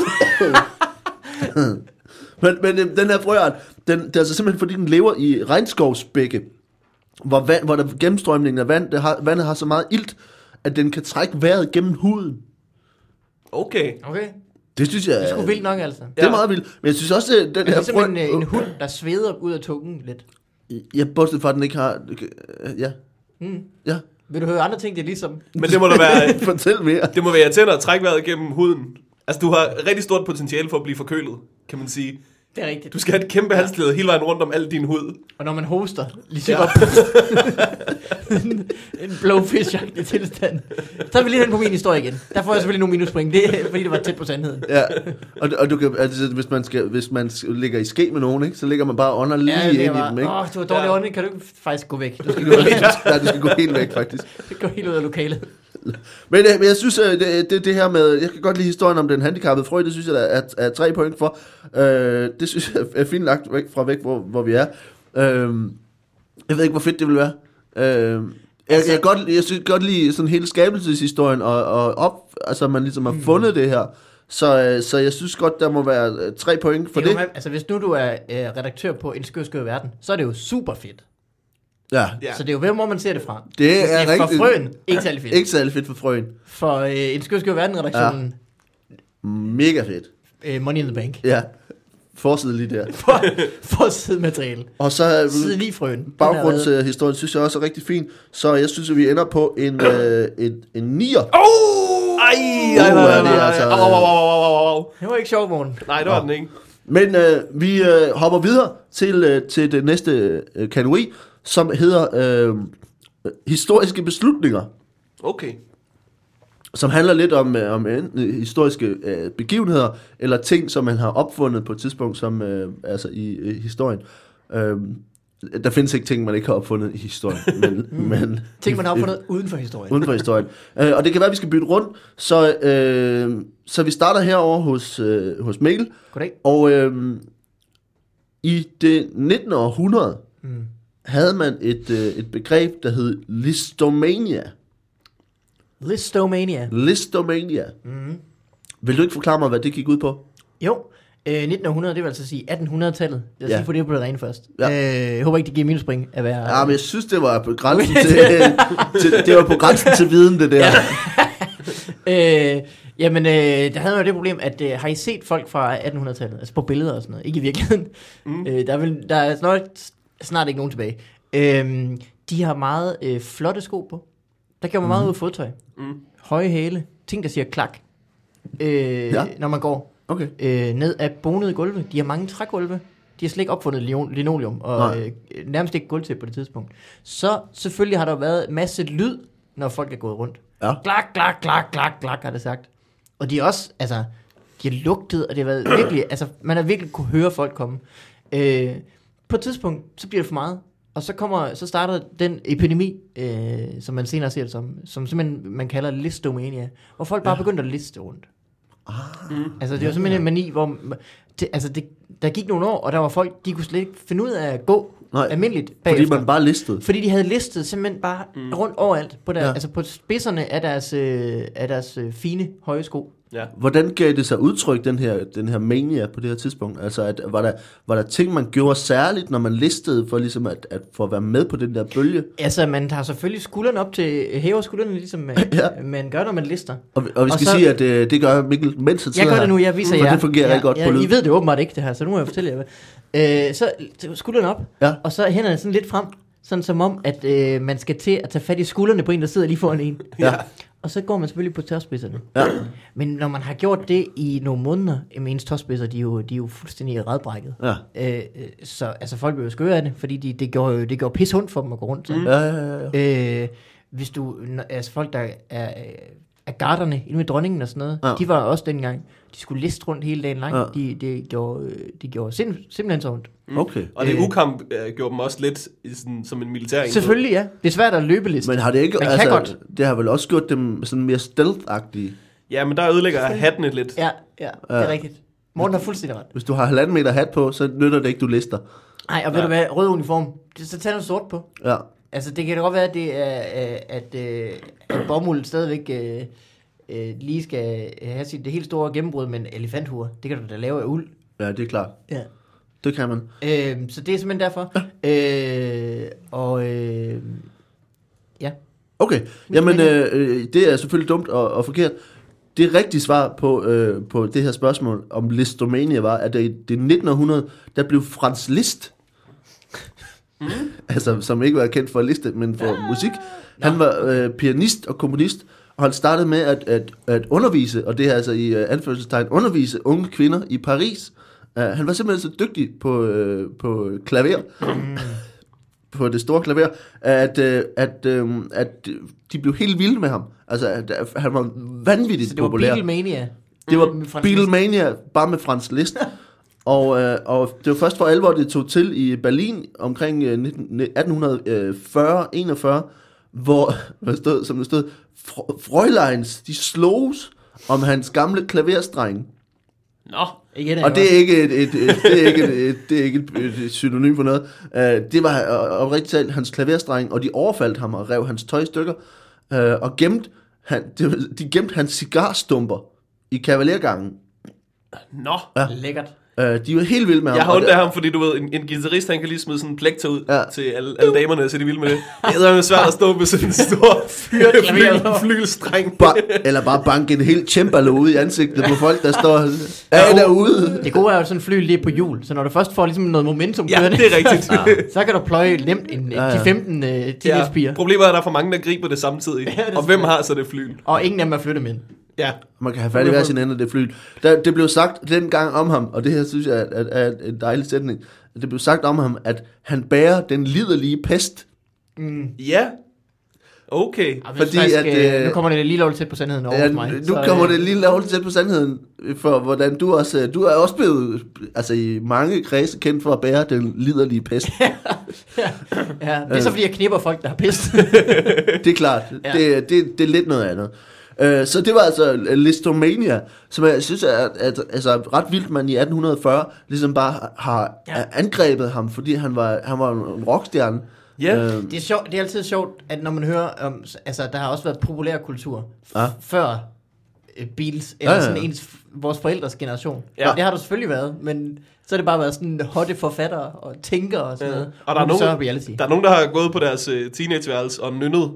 Speaker 1: Men, men øh, den her frøart, den, det er altså simpelthen fordi, den lever i regnskovsbække, hvor, vand, hvor der, gennemstrømningen af vand, det har, vandet har så meget ilt, at den kan trække vejret gennem huden.
Speaker 2: Okay.
Speaker 3: Okay.
Speaker 1: Det synes jeg
Speaker 3: Det er sgu
Speaker 1: er-
Speaker 3: vildt nok, altså.
Speaker 1: Det er
Speaker 2: Ja.
Speaker 1: meget vildt. Men jeg synes også, at den
Speaker 3: Det
Speaker 1: her
Speaker 3: er simpelthen øh,
Speaker 1: frø...
Speaker 3: en, en hund, der sveder ud af tungen lidt.
Speaker 1: Øh, Ja, bortset fra, at den ikke har... øh, Ja.
Speaker 3: Mm.
Speaker 1: Ja.
Speaker 3: Vil du høre andre ting, det er ligesom?
Speaker 2: Men det må da være,
Speaker 1: Fortæl mere.
Speaker 2: det må være irriterende at trække vejret gennem huden. Altså, du har rigtig stort potentiale for at blive forkølet, kan man sige.
Speaker 3: Det er rigtigt.
Speaker 2: Du skal have et kæmpe halsled hele vejen rundt om al din hud.
Speaker 3: Og når man hoster, lige så
Speaker 2: Ja.
Speaker 3: ja. en blowfish tilstand. Så er vi lige hen på min historie igen. Der får jeg selvfølgelig nogle minuspoint, det er, fordi det var tæt på sandheden.
Speaker 1: Ja, og, og du kan, altså, hvis man, skal, hvis man sk- ligger i ske med nogen, ikke, så ligger man bare under lige ja, ind i
Speaker 3: var,
Speaker 1: dem, ikke?
Speaker 3: Åh, du har dårlig
Speaker 2: Ja.
Speaker 3: ånding, kan du ikke faktisk gå væk? Du skal
Speaker 1: Du går helt, nej, du skal gå helt væk, faktisk.
Speaker 3: gå helt ud af lokalet.
Speaker 1: Men, øh, men jeg synes, øh, det, det, det her med, jeg kan godt lide historien om den handicappede frø, det synes jeg der er, er tre point for. Øh, det synes jeg er fint lagt væk fra væk, hvor, hvor vi er. Øh, jeg ved ikke, hvor fedt det vil være. Øh, jeg, jeg, kan godt, jeg synes godt lide sådan hele skabelseshistorien, og, og op, altså man ligesom har fundet det her. Så, øh, så jeg synes godt, der må være øh, tre point for
Speaker 3: det,
Speaker 1: det.
Speaker 3: det. Altså, hvis nu du er øh, redaktør på En Skør Skør Verden, så er det jo super fedt.
Speaker 1: Ja,
Speaker 2: Ja.
Speaker 3: Ja. Så det er jo, hvem må man ser det fra?
Speaker 1: Det
Speaker 3: Hvis
Speaker 1: er
Speaker 3: For
Speaker 1: rigtigt.
Speaker 3: frøen, ikke særlig fedt.
Speaker 1: ikke særlig fedt for frøen.
Speaker 3: For øh, En Skør Skør Verden-redaktionen,
Speaker 1: Mega fedt.
Speaker 3: ja. øh, Money in the Bank.
Speaker 1: Ja, forside lige der.
Speaker 3: For, for sidemateriale.
Speaker 1: Og så øh,
Speaker 3: Sid lige frøen. Den er reddet.
Speaker 1: baggrundshistorien synes jeg også er rigtig fin. Så jeg synes, at vi ender på en, øh, en, en nier.
Speaker 2: Oh! Ej, ej,
Speaker 1: Uh,
Speaker 2: ej,
Speaker 1: det
Speaker 2: ej,
Speaker 1: er
Speaker 2: ej.
Speaker 1: altså-
Speaker 2: Au, au, au, au, au, au, au.
Speaker 3: Det var ikke sjovt, morgen.
Speaker 2: Nej, det var den ikke.
Speaker 1: Men øh, vi øh, hopper videre til, øh, til det næste øh, kategori, som hedder øh, historiske beslutninger.
Speaker 2: Okay.
Speaker 1: Som handler lidt om, øh, om enten historiske øh, begivenheder, eller ting, som man har opfundet på et tidspunkt som, øh, altså i øh, historien. Øh, der findes ikke ting, man ikke har opfundet i historien. Men, men,
Speaker 3: Ting, man har opfundet uden for historien.
Speaker 1: uden for historien. Øh, og det kan være, at vi skal bytte rundt, så, øh, så vi starter herover hos, øh, hos Mikkel.
Speaker 3: Goddag.
Speaker 1: Og øh, i det 19. århundrede mm. havde man et, øh, et begreb, der hed listomania.
Speaker 3: Listomania.
Speaker 1: Listomania. Mm. Vil du ikke forklare mig, hvad det gik ud på?
Speaker 3: Jo, øh, 1900, det vil altså sige 1800-tallet. Lad os
Speaker 1: Ja.
Speaker 3: ja. lige få det på det rene først.
Speaker 1: Ja.
Speaker 3: Ja. Øh, jeg håber ikke, det giver minuspring at være...
Speaker 1: Ja, men jeg synes, det var på grænsen til, til, det var på grænsen til viden, det der. Ja.
Speaker 3: Øh, jamen, øh, der havde man jo det problem, at øh, har I set folk fra 1800-tallet? Altså på billeder og sådan noget. Ikke i virkeligheden. Mm. Øh, der, er vel, der er snart, snart ikke nogen tilbage. Øh, de har meget øh, flotte sko på. Der gør man meget ud af fodtøj.
Speaker 2: Mm.
Speaker 3: Høje hæle. Ting, der siger klak. Øh,
Speaker 1: Ja.
Speaker 3: ja. Når man går
Speaker 1: Okay.
Speaker 3: øh, ned af bonede gulve. De har mange trægulve. De har slet ikke opfundet lino- linoleum, og
Speaker 1: Nej.
Speaker 3: øh, nærmest ikke gulvtæppe på det tidspunkt. Så selvfølgelig har der været masse lyd, når folk er gået rundt.
Speaker 1: Ja.
Speaker 3: Klak, klak, klak, klak, klak, har det sagt. Og de er også, altså, de har lugtet, og det har været virkelig, altså, man har virkelig kunne høre folk komme. Øh, på et tidspunkt, så bliver det for meget, og så, kommer, så starter den epidemi, øh, som man senere ser det som, som simpelthen man kalder listomania, hvor folk bare begyndte at liste rundt.
Speaker 1: Ah.
Speaker 3: Altså, det var simpelthen en mani, hvor... Det, altså, det, der gik nogle år, og der var folk, de kunne slet ikke finde ud af at gå
Speaker 1: Nej,
Speaker 3: Nej, almindeligt
Speaker 1: Fordi
Speaker 3: bagefter.
Speaker 1: man bare listede.
Speaker 3: fordi de havde listet simpelthen bare mm. rundt overalt, på der,
Speaker 1: Ja.
Speaker 3: ja. altså på spidserne af deres, øh, af deres øh, fine høje sko.
Speaker 2: Ja.
Speaker 1: Hvordan gav det sig udtryk, den her, den her mania på det her tidspunkt? Altså, at, var, der, var der ting, man gjorde særligt, når man listede for, ligesom at, at, for at være med på den der bølge?
Speaker 3: Altså, man tager selvfølgelig skuldrene op til, hæver skuldrene ligesom man,
Speaker 1: Ja.
Speaker 3: ja. man gør, når man lister.
Speaker 1: Og, vi- og vi
Speaker 3: Og
Speaker 1: skal
Speaker 3: så-
Speaker 1: sige, at øh, det gør Mikkel, mens han
Speaker 3: Jeg
Speaker 1: sidder
Speaker 3: gør
Speaker 1: her.
Speaker 3: det nu, jeg viser
Speaker 1: for
Speaker 3: jer.
Speaker 1: det fungerer
Speaker 3: ja,
Speaker 1: rigtig godt
Speaker 3: ja,
Speaker 1: på lyd.
Speaker 3: I ved det åbenbart ikke, det her, så nu må jeg fortælle jer. hvad. Øh, så t- skuldrene op,
Speaker 1: Ja.
Speaker 3: og så hænderne sådan lidt frem, sådan som om, at øh, man skal til at tage fat i skuldrene på en, der sidder lige foran en.
Speaker 1: Ja.
Speaker 3: Og så går man selvfølgelig på tørspidserne.
Speaker 1: Ja.
Speaker 3: Men når man har gjort det i nogle måneder, jamen ens tørspidser, de er jo, de er jo fuldstændig redbrækket.
Speaker 1: Ja.
Speaker 3: Øh, øh, så altså, folk blev jo skøre af det, fordi de, det gjorde, jo- det gjorde pishund for dem at gå rundt. Mm.
Speaker 1: Ja, ja, ja, ja.
Speaker 3: Øh, hvis du, n- altså folk, der er, øh, er garderne inde ved dronningen og sådan noget,
Speaker 1: Ja.
Speaker 3: ja. de var også dengang, de skulle liste rundt hele dagen lang.
Speaker 1: Ja.
Speaker 3: Ja. De, det gjorde, øh, de gjorde sind, simpelthen så ondt.
Speaker 1: Okay.
Speaker 2: Og det
Speaker 3: Øh.
Speaker 2: ukamp øh, gjorde dem også lidt i sådan, som en militær enhed.
Speaker 3: Selvfølgelig, ja. Det er svært at løbe liste.
Speaker 1: Men har det ikke...
Speaker 3: Man kan
Speaker 1: altså,
Speaker 3: godt.
Speaker 1: Det har vel også gjort dem sådan mere stealth-agtige.
Speaker 2: Ja, men der ødelægger hattene lidt.
Speaker 3: Ja, ja, det er rigtigt. Morten har fuldstændig ret.
Speaker 1: Hvis du har halvanden meter hat på, så nytter det ikke, du lister.
Speaker 3: Nej, og ved
Speaker 2: Ja.
Speaker 3: du hvad, rød uniform, det, så tag noget sort på.
Speaker 1: Ja.
Speaker 3: Altså, det kan da godt være, at, det er, øh, at, øh, at bomuld stadigvæk øh, øh, lige skal have sit det helt store gennembrud, men elefanthuer, det kan du da lave af uld.
Speaker 1: Ja, det er klart.
Speaker 3: Ja.
Speaker 1: Det kan man.
Speaker 3: Øhm, så det er simpelthen derfor. øh, og øh, ja,
Speaker 1: Okay, jamen øh, øh, det er selvfølgelig dumt og, og forkert. Det rigtige svar på, øh, på det her spørgsmål om Listomania var, at det, det 1900, der blev Frans Liszt, altså, som ikke var kendt for at liste, men for musik. Han var øh, pianist og komponist, og han startede med at, at, at undervise, og det er altså i øh, anførselstegn, undervise unge kvinder i Paris. Uh, han var simpelthen så dygtig på, øh, på klaver,
Speaker 3: Mm.
Speaker 1: på det store klaver, at, øh, at, øh, at de blev helt vilde med ham. Altså, at, at han var vanvittigt
Speaker 3: så det var
Speaker 1: populær.
Speaker 3: Beatlemania.
Speaker 1: Det
Speaker 3: Mm, Med
Speaker 1: var
Speaker 3: Franz
Speaker 1: Beatlemania, bare med Frans Liszt. og, øh, og det var først for alvor, det tog til i Berlin omkring øh, 1840-41, hvor, hvad stod, som det stod, Fr- Freuleins, de slogs om hans gamle klaverstreng.
Speaker 2: Nå,
Speaker 3: Ikke det,
Speaker 1: Og det er ikke et, et, et, det er ikke et, et, det er ikke et, et synonym for noget. Uh, det var uh, oprigtigt talt hans klaverstreng, og de overfaldt ham og rev hans tøj i stykker, uh, og gemte, han, de, de gemte hans cigarstumper i kavalergangen.
Speaker 2: nå.
Speaker 3: lækkert.
Speaker 1: Øh, de var helt vilde med ham.
Speaker 2: Jeg har
Speaker 1: og
Speaker 2: ondt
Speaker 1: det-
Speaker 2: af ham, fordi du ved, en, en guitarist, han kan lige smide sådan en plekter ud
Speaker 1: Ja.
Speaker 2: ja. til alle, alle damerne, så de vil med det. Det er jo svært at stå med sådan en stor
Speaker 3: klaver.
Speaker 2: flyl, flygelstreng.
Speaker 1: Ba- eller bare banke en helt cembalo ud i ansigtet på folk, der står af derude.
Speaker 3: Det gode er jo sådan et fly lige på hjul, så når du først får ligesom noget momentum
Speaker 2: Ja,
Speaker 3: kørende,
Speaker 2: det er rigtigt.
Speaker 3: så kan du pløje nemt en,
Speaker 1: ja.
Speaker 3: de 15 uh, teenagepiger, ja.
Speaker 2: Problemet er, at der er for mange, der griber det samtidig.
Speaker 3: Ja, det er
Speaker 2: og hvem har så det flyl?
Speaker 3: og ingen af dem er flyttet med.
Speaker 2: Ja.
Speaker 1: Man kan have fat i hver sin ende af det fly. Der, det blev sagt dengang om ham, og det her synes jeg er, er, er en dejlig sætning. Det blev sagt om ham, at han bærer den liderlige pest.
Speaker 2: Ja. Okay.
Speaker 3: Ej, men
Speaker 1: Fordi
Speaker 3: faktisk,
Speaker 1: at,
Speaker 3: øh,
Speaker 1: øh,
Speaker 3: nu kommer det lige lovligt tæt på sandheden over
Speaker 1: Ja,
Speaker 3: hos mig.
Speaker 1: nu
Speaker 3: så,
Speaker 1: kommer
Speaker 3: øh,
Speaker 1: det lige lavt tæt på sandheden, for hvordan du også, du er også blevet, altså i mange kredse kendt for at bære den liderlige pest.
Speaker 3: Ja, det er så fordi, jeg knipper folk, der har pist.
Speaker 1: det er klart.
Speaker 3: Ja.
Speaker 1: Ja. Det, det, det er lidt noget andet. Øh, Så det var altså Listomania, som jeg synes er at, altså, ret vildt, man i 1840 ligesom bare har
Speaker 3: Ja.
Speaker 1: ja. angrebet ham, fordi han var, han var en rockstjerne.
Speaker 2: Ja.
Speaker 1: Øh,
Speaker 3: Det er, sjovt, det er altid sjovt, at når man hører om, altså der har også været populærkultur
Speaker 1: Ja.
Speaker 3: f- før øh, Beatles, eller
Speaker 1: Ja, ja, ja.
Speaker 3: sådan ens, vores forældres generation.
Speaker 2: Ja.
Speaker 3: Det har der selvfølgelig været, men så har det bare været sådan hotte forfattere og tænkere og sådan
Speaker 2: Ja.
Speaker 3: noget.
Speaker 2: Og der er
Speaker 3: nu
Speaker 2: nogen-
Speaker 3: så er reality.
Speaker 2: Der er nogen, der har gået på deres øh, teenageværelse og nynnet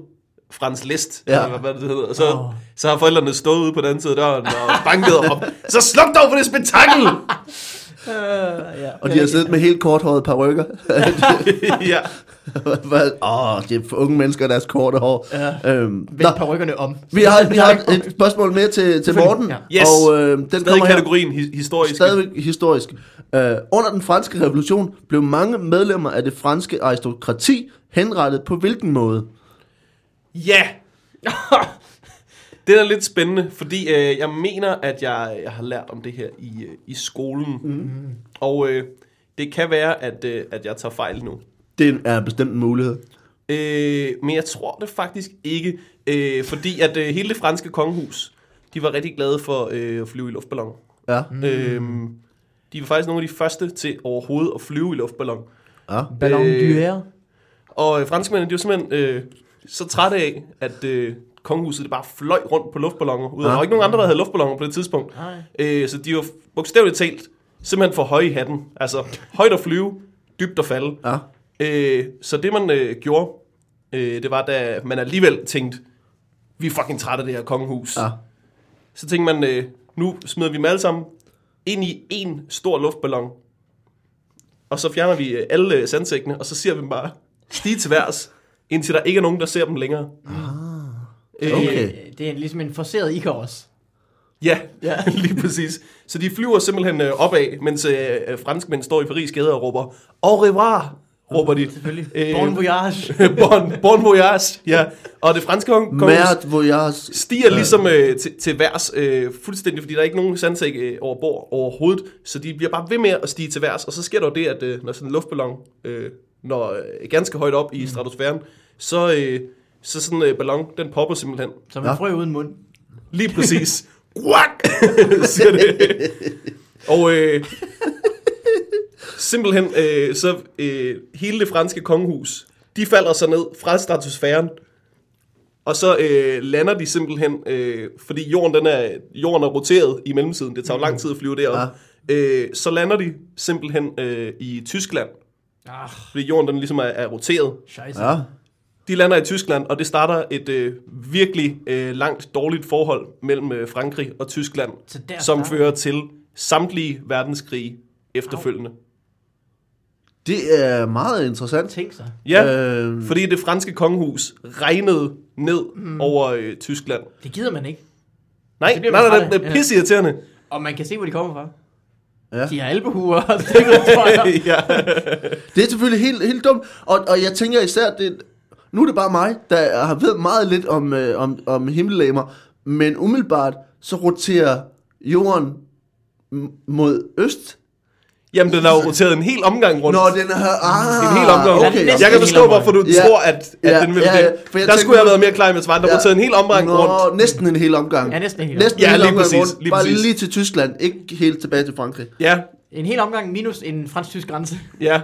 Speaker 2: Frans List,
Speaker 1: Ja.
Speaker 2: eller hvad det hedder. Og så,
Speaker 3: Åh.
Speaker 2: oh. så har forældrene stået ude på den anden side af døren og banket op. Så sluk dog for det spektakel!
Speaker 3: Øh, ja.
Speaker 1: og de har siddet med helt korthårede parrykker.
Speaker 2: ja.
Speaker 1: Åh, det er for unge mennesker, deres korte hår.
Speaker 3: Ja.
Speaker 1: Øhm, nå,
Speaker 3: Vendt parrykkerne om.
Speaker 1: vi har, vi har et spørgsmål mere til, til Morten,
Speaker 2: Ja. Yes.
Speaker 1: og øh, den
Speaker 2: Stadig
Speaker 1: kommer her.
Speaker 2: kategorien hi- historisk.
Speaker 1: Stadigvæk historisk. Uh, under den franske revolution blev mange medlemmer af det franske aristokrati henrettet på hvilken måde?
Speaker 2: Ja! det er lidt spændende, fordi øh, jeg mener, at jeg, jeg har lært om det her i, øh, i skolen. Mm. Og øh, det kan være, at, øh, at jeg tager fejl nu.
Speaker 1: Det er bestemt en mulighed.
Speaker 2: Øh, men jeg tror det faktisk ikke, øh, fordi at øh, hele det franske kongehus, de var rigtig glade for øh, at flyve i luftballon.
Speaker 1: Ja.
Speaker 2: Mm. Øh, de var faktisk nogle af de første til overhovedet at flyve i luftballon.
Speaker 1: ja.
Speaker 3: Ballon
Speaker 2: Øh,
Speaker 3: d'Air.
Speaker 2: Og øh, franskmændene, de var simpelthen øh, så trætte af, at øh, kongehuset det bare fløj rundt på luftballoner. Ud. Ja. Der var ikke nogen andre, der havde luftballoner på det tidspunkt.
Speaker 3: Nej.
Speaker 2: Øh, så de var bogstaveligt talt simpelthen for høje i hatten. Altså højt at flyve, dybt at falde.
Speaker 1: Ja.
Speaker 2: Øh, så det man øh, gjorde, øh, det var da man alligevel tænkte, vi er fucking trætte af det her kongehus.
Speaker 1: Ja.
Speaker 2: Så tænkte man, øh, nu smider vi dem alle sammen ind i en stor luftballon. Og så fjerner vi øh, alle øh, sandsækkene, og så siger vi dem bare, stige til værs, indtil der ikke er nogen, der ser dem længere. Ah,
Speaker 1: okay.
Speaker 3: Øh, Det er ligesom en forceret Icarus.
Speaker 2: Ja, ja, lige præcis. Så de flyver simpelthen øh, opad, mens øh, øh, franskmænd står i Paris gader og råber, au revoir, råber de.
Speaker 3: Selvfølgelig.
Speaker 2: Øh,
Speaker 3: Bon voyage.
Speaker 2: bon, bon voyage, ja. Og det franske kong- kongehus
Speaker 1: Mert Voyage.
Speaker 2: stiger ligesom øh, til, til værs øh, fuldstændig, fordi der er ikke nogen sandsæk øh, over bord overhovedet, så de bliver bare ved med at stige til værs, og så sker der jo det, at øh, når sådan en luftballon øh, når øh, ganske højt op i stratosfæren, så, øh, så sådan en øh, ballon, den popper simpelthen.
Speaker 3: Som en frø uden mund.
Speaker 2: Lige præcis. Quack! siger det. Og øh, simpelthen, øh, så øh, hele det franske kongehus, de falder så ned fra stratosfæren, og så øh, lander de simpelthen, øh, fordi jorden, den er, jorden er roteret i mellemtiden. Det tager jo lang tid at flyve derop. øh, så lander de simpelthen øh, i Tyskland,
Speaker 3: Ah,
Speaker 2: fordi jorden den ligesom er, er roteret.
Speaker 3: scheisse.
Speaker 1: Ja.
Speaker 2: De lander i Tyskland, og det starter et øh, virkelig øh, langt dårligt forhold mellem øh, Frankrig og Tyskland,
Speaker 3: Så der
Speaker 2: som
Speaker 3: starter-
Speaker 2: fører til samtlige verdenskrige efterfølgende.
Speaker 1: Det er meget interessant.
Speaker 3: Tænk sig.
Speaker 2: Ja,
Speaker 1: Øh,
Speaker 2: fordi det franske kongehus regnede ned mm. over øh, Tyskland.
Speaker 3: Det gider man ikke.
Speaker 2: Nej,
Speaker 3: Altså, Det
Speaker 2: nej,
Speaker 3: bliver man
Speaker 2: nej,
Speaker 3: træt
Speaker 2: det
Speaker 3: af.
Speaker 2: er pisseirriterende.
Speaker 3: Og man kan se, hvor de kommer fra.
Speaker 1: Ja.
Speaker 3: De har albehuer og stikker, tror jeg.
Speaker 2: ja.
Speaker 1: Det er selvfølgelig helt, helt dumt, og, og jeg tænker især, det, nu er det bare mig, der har ved meget lidt om, øh, om, om himmellegemer, men umiddelbart så roterer jorden m- mod øst.
Speaker 2: Jamen, den har jo roteret en hel omgang rundt.
Speaker 1: Nå, den her... Ah,
Speaker 2: en hel omgang rundt.
Speaker 3: Eller
Speaker 1: Okay,
Speaker 3: næsten
Speaker 2: Jeg kan
Speaker 3: en hel
Speaker 2: forstå,
Speaker 3: omgang.
Speaker 2: hvorfor du
Speaker 1: Ja.
Speaker 2: tror, at, at
Speaker 1: Ja,
Speaker 2: den vil
Speaker 1: ja,
Speaker 2: ja,
Speaker 1: ja,
Speaker 2: ja.
Speaker 1: for jeg
Speaker 2: Der skulle
Speaker 1: tænker-
Speaker 2: jeg have været mere klar i mit svar. Der roteret en hel omgang rundt.
Speaker 1: Nå, næsten en hel omgang.
Speaker 3: Ja, næsten en hel
Speaker 1: Næsten en
Speaker 2: omgang. Ja,
Speaker 1: hel
Speaker 2: lige
Speaker 1: omgang
Speaker 2: præcis,
Speaker 1: rundt.
Speaker 2: lige
Speaker 1: Bare
Speaker 2: præcis.
Speaker 1: lige til Tyskland, ikke helt tilbage til Frankrig.
Speaker 2: Ja,
Speaker 3: En hel omgang minus en fransk-tysk grænse.
Speaker 2: ja.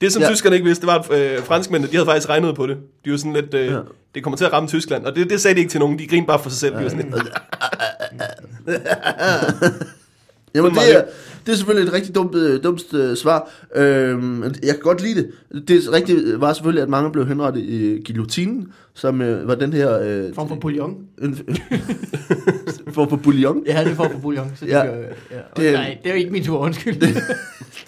Speaker 2: Det, som
Speaker 1: Ja.
Speaker 2: ja. tyskerne ikke vidste, det var, at øh, franskmændene, de havde faktisk regnet på det. De var sådan lidt, øh,
Speaker 1: Ja.
Speaker 2: ja. det kommer til at ramme Tyskland. Og det, det sagde de ikke til nogen. De grinede bare for sig selv. De var sådan lidt,
Speaker 1: Jamen,
Speaker 2: Sådan
Speaker 1: det
Speaker 2: var
Speaker 1: er, det er selvfølgelig et rigtig dumt, øh, dumt øh, svar. Øhm, jeg kan godt lide det. Det rigtige var selvfølgelig, at mange blev henrettet i guillotinen, som øh, var den her... Øh,
Speaker 3: Form for bouillon.
Speaker 1: en, for, for bouillon.
Speaker 3: Ja, det er form for bouillon. Så det
Speaker 1: Ja.
Speaker 3: ja. Gør, ja. Og
Speaker 1: Det er-
Speaker 3: Nej, det er jo ikke min tur, undskyld.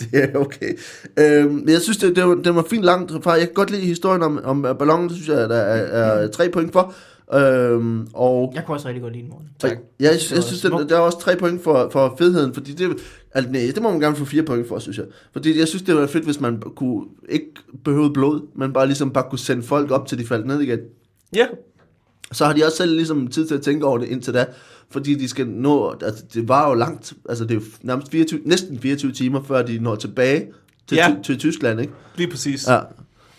Speaker 1: Det er okay. Øhm, men jeg synes, det, det, var, det var fint langt fra. Jeg kan godt lide historien om, om øh, ballonen. Det synes jeg, der er, er tre point for. Øhm, og
Speaker 3: Jeg kunne også rigtig godt lide en morgen.
Speaker 1: Og
Speaker 2: Tak.
Speaker 1: Jeg, jeg, jeg
Speaker 3: var
Speaker 1: synes, at
Speaker 3: smukt.
Speaker 1: der er også tre point for, for fedheden, fordi det, altså, nej, det må man gerne få fire point for, synes jeg. Fordi jeg synes, det var fedt, hvis man kunne, ikke behøvede blod, men bare ligesom bare kunne sende folk op, til de faldt ned igen.
Speaker 2: ja,
Speaker 1: Så har de også selv ligesom tid til at tænke over det indtil da, fordi de skal nå, altså det var jo langt, altså det er jo nærmest 24, næsten 24 timer, før de når tilbage til, ja.
Speaker 2: Ja.
Speaker 1: til, til Tyskland, ikke?
Speaker 2: lige præcis. Ja.
Speaker 1: Ja.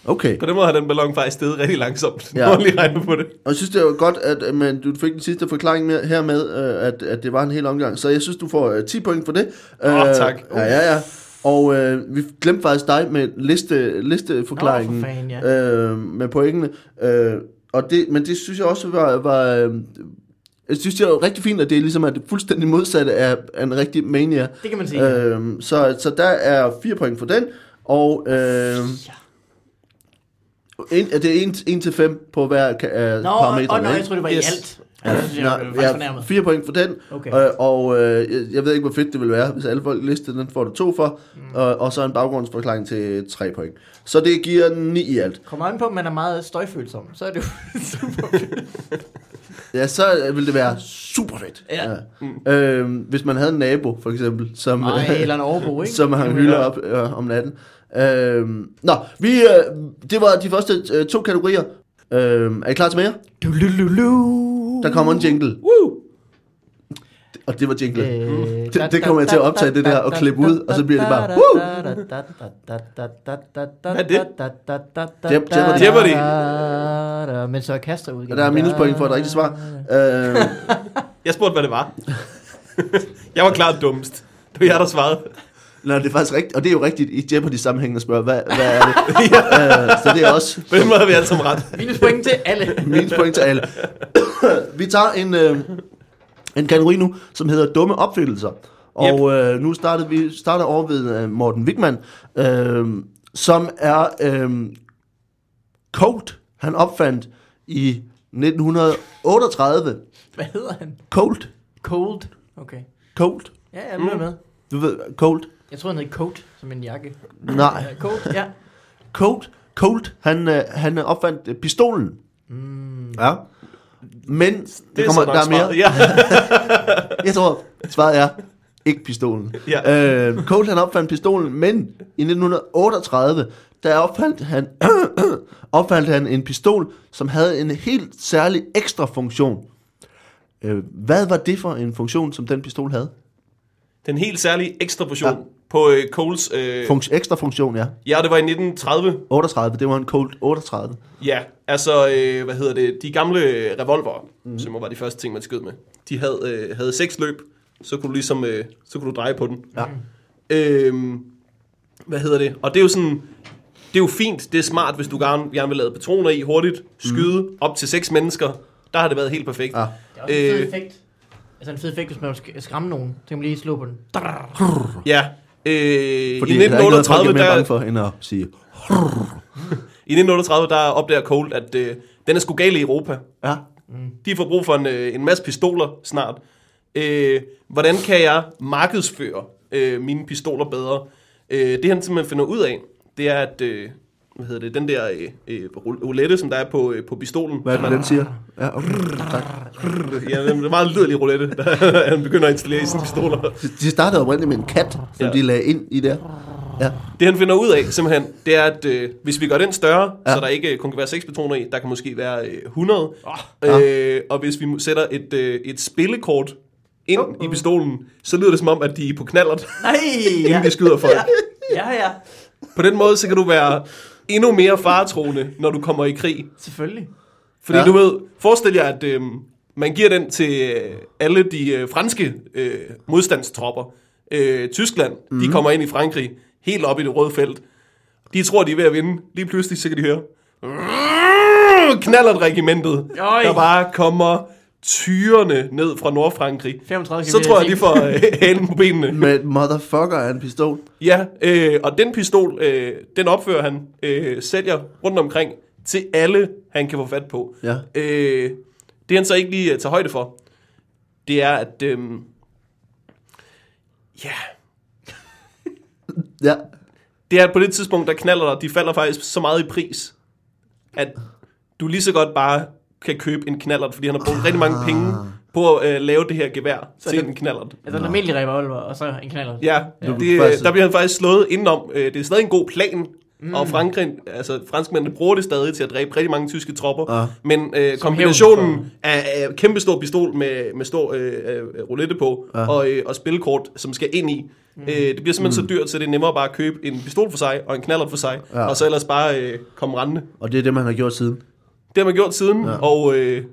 Speaker 1: Okay.
Speaker 2: På den måde har den ballon faktisk steget rigtig langsomt.
Speaker 1: Ja.
Speaker 2: Ja. Når lige regnet på det.
Speaker 1: Og jeg synes, det var godt, at øh, men du fik den sidste forklaring med, her med, øh, at, at det var en hel omgang. Så jeg synes, du får øh, 10 point for det.
Speaker 2: Åh,
Speaker 1: Øh,
Speaker 2: tak.
Speaker 1: Ja, ja, ja. Og øh, vi glemte faktisk dig med liste, listeforklaringen
Speaker 3: Nå, for fanden,
Speaker 1: øh, med pointene. Øh, og det, men det synes jeg også var... var øh, jeg synes, det er jo rigtig fint, at det er ligesom er det fuldstændig modsatte af, af en rigtig mania.
Speaker 3: Det kan man sige. Øh,
Speaker 1: Øh, så, så der er 4 point for den. Og øh, en, er det 1 til 5 på hver øh, ka- af
Speaker 3: Nå,
Speaker 1: parametre?
Speaker 3: og nå, jeg troede, det var yes. i
Speaker 2: Yes.
Speaker 3: alt. Ja, jeg synes, jeg
Speaker 1: Nå,
Speaker 3: blev faktisk
Speaker 1: ja,
Speaker 3: fornærmet.
Speaker 1: fire point for den,
Speaker 3: Okay.
Speaker 1: okay. øh, og øh, jeg- jeg ved ikke, hvor fedt det ville være, hvis alle folk listede den, får du to for, mm. og, og så en baggrundsforklaring til tre point. Så det giver ni i alt.
Speaker 3: Kommer an på, om man er meget støjfølsom, så er det jo super.
Speaker 1: Ja, så øh, ville det være super fedt.
Speaker 3: Ja.
Speaker 1: Mm. Øh, hvis man havde en nabo, for eksempel, som,
Speaker 3: Ej, eller en overbo, ikke?
Speaker 1: som han
Speaker 3: Det
Speaker 1: hylder
Speaker 3: ville
Speaker 1: op øh, om natten. Øh, nå, vi, øh, det var de første øh, to kategorier. Øh, er I klar til mere?
Speaker 3: Du-lu-lu-lu.
Speaker 1: Der kommer en jingle,
Speaker 2: Woo!
Speaker 1: og det var jingle. Øh.
Speaker 3: Øh,
Speaker 1: Det- det kommer jeg til at optage, det der, og klippe ud, og så bliver det bare, woo!
Speaker 3: Hvad
Speaker 2: er det?
Speaker 1: Jep- Jeopardy.
Speaker 3: Jeopardy. Men så er Kaster ud.
Speaker 1: Der er minuspoint for et rigtigt svar. Øh,
Speaker 2: Jeg spurgte, hvad det var. jeg var klart dummest. Det var jeg, der svarede.
Speaker 1: Nå, det er faktisk rigtigt, og det er jo rigtigt i Jeopardy-sammenhængen at spørge, hvad, hvad er det? øh, så det er også
Speaker 2: På den måde har vi alle sammen ret.
Speaker 3: Minuspoint til alle.
Speaker 1: min point til alle. vi tager en, øh, en kategori nu, som hedder dumme opfindelser. Og øh, nu starter vi starter over ved øh, Morten Wigman, øh, som er øh, Colt. Han opfandt i 1938.
Speaker 3: Hvad hedder han?
Speaker 1: Colt.
Speaker 3: Cold. Okay. Mm.
Speaker 1: Colt.
Speaker 3: Ja, jeg bliver med.
Speaker 1: Du ved, Colt.
Speaker 3: Jeg tror, han hed Coat, som en jakke.
Speaker 1: Nej.
Speaker 3: Ja, Coat, ja.
Speaker 1: Colt, Colt han, øh, han øh, opfandt øh, pistolen. Mm. Ja. Men det
Speaker 2: Det er
Speaker 1: kommer, der
Speaker 2: så nok
Speaker 1: er mere.
Speaker 2: svaret. Ja.
Speaker 1: Jeg tror, svaret er ikke pistolen.
Speaker 2: Ja.
Speaker 1: Øh, Colt han opfandt pistolen, men i 1938, der opfandt han, opfandt han en pistol, som havde en helt særlig ekstra funktion. Øh, hvad var det for en funktion, som den pistol havde?
Speaker 2: Øh. Den helt særlige ekstra portion
Speaker 1: Ja.
Speaker 2: ja. på øh, Coles... Øh,
Speaker 1: Funks, ekstra funktion, ja.
Speaker 2: ja, det var i 1930.
Speaker 1: 38, det var en Colt 38.
Speaker 2: Ja, altså, øh, hvad hedder det? De gamle øh, revolvere,
Speaker 1: Mhm.
Speaker 2: mm. som jo var de første ting, man skød med, de havde, øh, havde seks løb, så kunne du ligesom, øh, så kunne du dreje på den.
Speaker 1: Ja.
Speaker 2: Øhm, hvad hedder det? Og det er jo sådan, det er jo fint, det er smart, hvis du gerne, gerne vil lade patroner i hurtigt, skyde mm. op til seks mennesker, der har det været helt perfekt.
Speaker 1: Mhm. Ja.
Speaker 3: Øh. Det er også en fed effekt. Altså en fed effekt, hvis man vil sk- skræmme nogen. Så kan man lige slå på den.
Speaker 2: Ja. Øh,
Speaker 1: Fordi
Speaker 2: i,
Speaker 1: der er ikke noget, folk er
Speaker 2: 1938,
Speaker 1: mere bange
Speaker 2: der,
Speaker 1: for, end at sige,
Speaker 2: I 1938, der opdager Colt, at øh, den er sgu gal i Europa.
Speaker 1: ja,
Speaker 2: De får brug for en, øh, en masse pistoler snart. Øh, hvordan kan jeg markedsføre øh, mine pistoler bedre? Øh, det han simpelthen finder ud af, det er, at øh, hvad hedder det, den der øh, øh, roulette, som der er på, øh, på pistolen.
Speaker 1: hvad er det,
Speaker 2: man-
Speaker 1: den siger? Ja, rrr, tak.
Speaker 2: Ja, det er en meget lydelig roulette, der han begynder at installere i sine pistoler.
Speaker 1: De startede oprindeligt med en kat, som
Speaker 2: Ja.
Speaker 1: de lagde ind i der. Ja,
Speaker 2: Det han finder ud af simpelthen, det er, at øh, hvis vi gør den større, ja. så der ikke øh, kun kan være 6 patroner i, der kan måske være øh, 100. Oh. Øh, og hvis vi mu- sætter et, øh, et spillekort ind uh-uh. i pistolen, så lyder det som om, at de er på knallert,
Speaker 3: Nej!
Speaker 2: inden de skyder folk.
Speaker 3: ja, ja.
Speaker 2: På den måde, så kan du være endnu mere faretroende, når du kommer i krig.
Speaker 3: Selvfølgelig.
Speaker 2: Fordi
Speaker 1: Ja.
Speaker 2: ja. du ved, forestil jer, at øh, man giver den til øh, alle de øh, franske øh, modstandstropper. Øh, Tyskland, mm. de kommer ind i Frankrig, helt op i det røde felt. De tror, de er ved at vinde. Lige pludselig, så kan de høre... Knallert regimentet,
Speaker 3: Øj.
Speaker 2: der bare kommer tyrene ned fra Nordfrankrig.
Speaker 3: 35
Speaker 2: Så
Speaker 3: kilometer
Speaker 2: tror jeg,
Speaker 3: i
Speaker 2: de får
Speaker 3: timen.
Speaker 2: øh, halen på benene.
Speaker 1: med et motherfucker af en pistol.
Speaker 2: Ja, øh, og den pistol, øh, den opfører han, øh, sælger rundt omkring til alle, han kan få fat på.
Speaker 1: Ja.
Speaker 2: Øh, det han så ikke lige øh, tager højde for, det er, at... Øh, ja,
Speaker 1: Ja,
Speaker 2: det er at på det tidspunkt, der knaller dig, de falder faktisk så meget i pris, at du lige så godt bare kan købe en knallert, fordi han har brugt rigtig mange penge på at øh, lave det her gevær så til
Speaker 3: den-
Speaker 2: en knallert.
Speaker 3: Altså en almindelig revolver, og så en knaller.
Speaker 2: Ja,
Speaker 3: Ja.
Speaker 1: Faktisk-
Speaker 2: det, øh, der bliver han faktisk slået indenom. Øh, Det er stadig en god plan, mm. og Frankrig, altså, franskmændene bruger det stadig til at dræbe rigtig mange tyske tropper.
Speaker 1: Ja.
Speaker 2: Men øh, kombinationen af, af kæmpestor pistol med, med stor øh, øh, roulette på, og, øh, og spilkort, som skal ind i, mm. øh, det bliver simpelthen mm. så dyrt, så det er nemmere bare at købe en pistol for sig, og en knaller for sig,
Speaker 1: Ja.
Speaker 2: ja. og så ellers bare øh, komme rendende.
Speaker 1: og det er det, man har gjort siden.
Speaker 2: Det har man gjort siden, ja. og øh,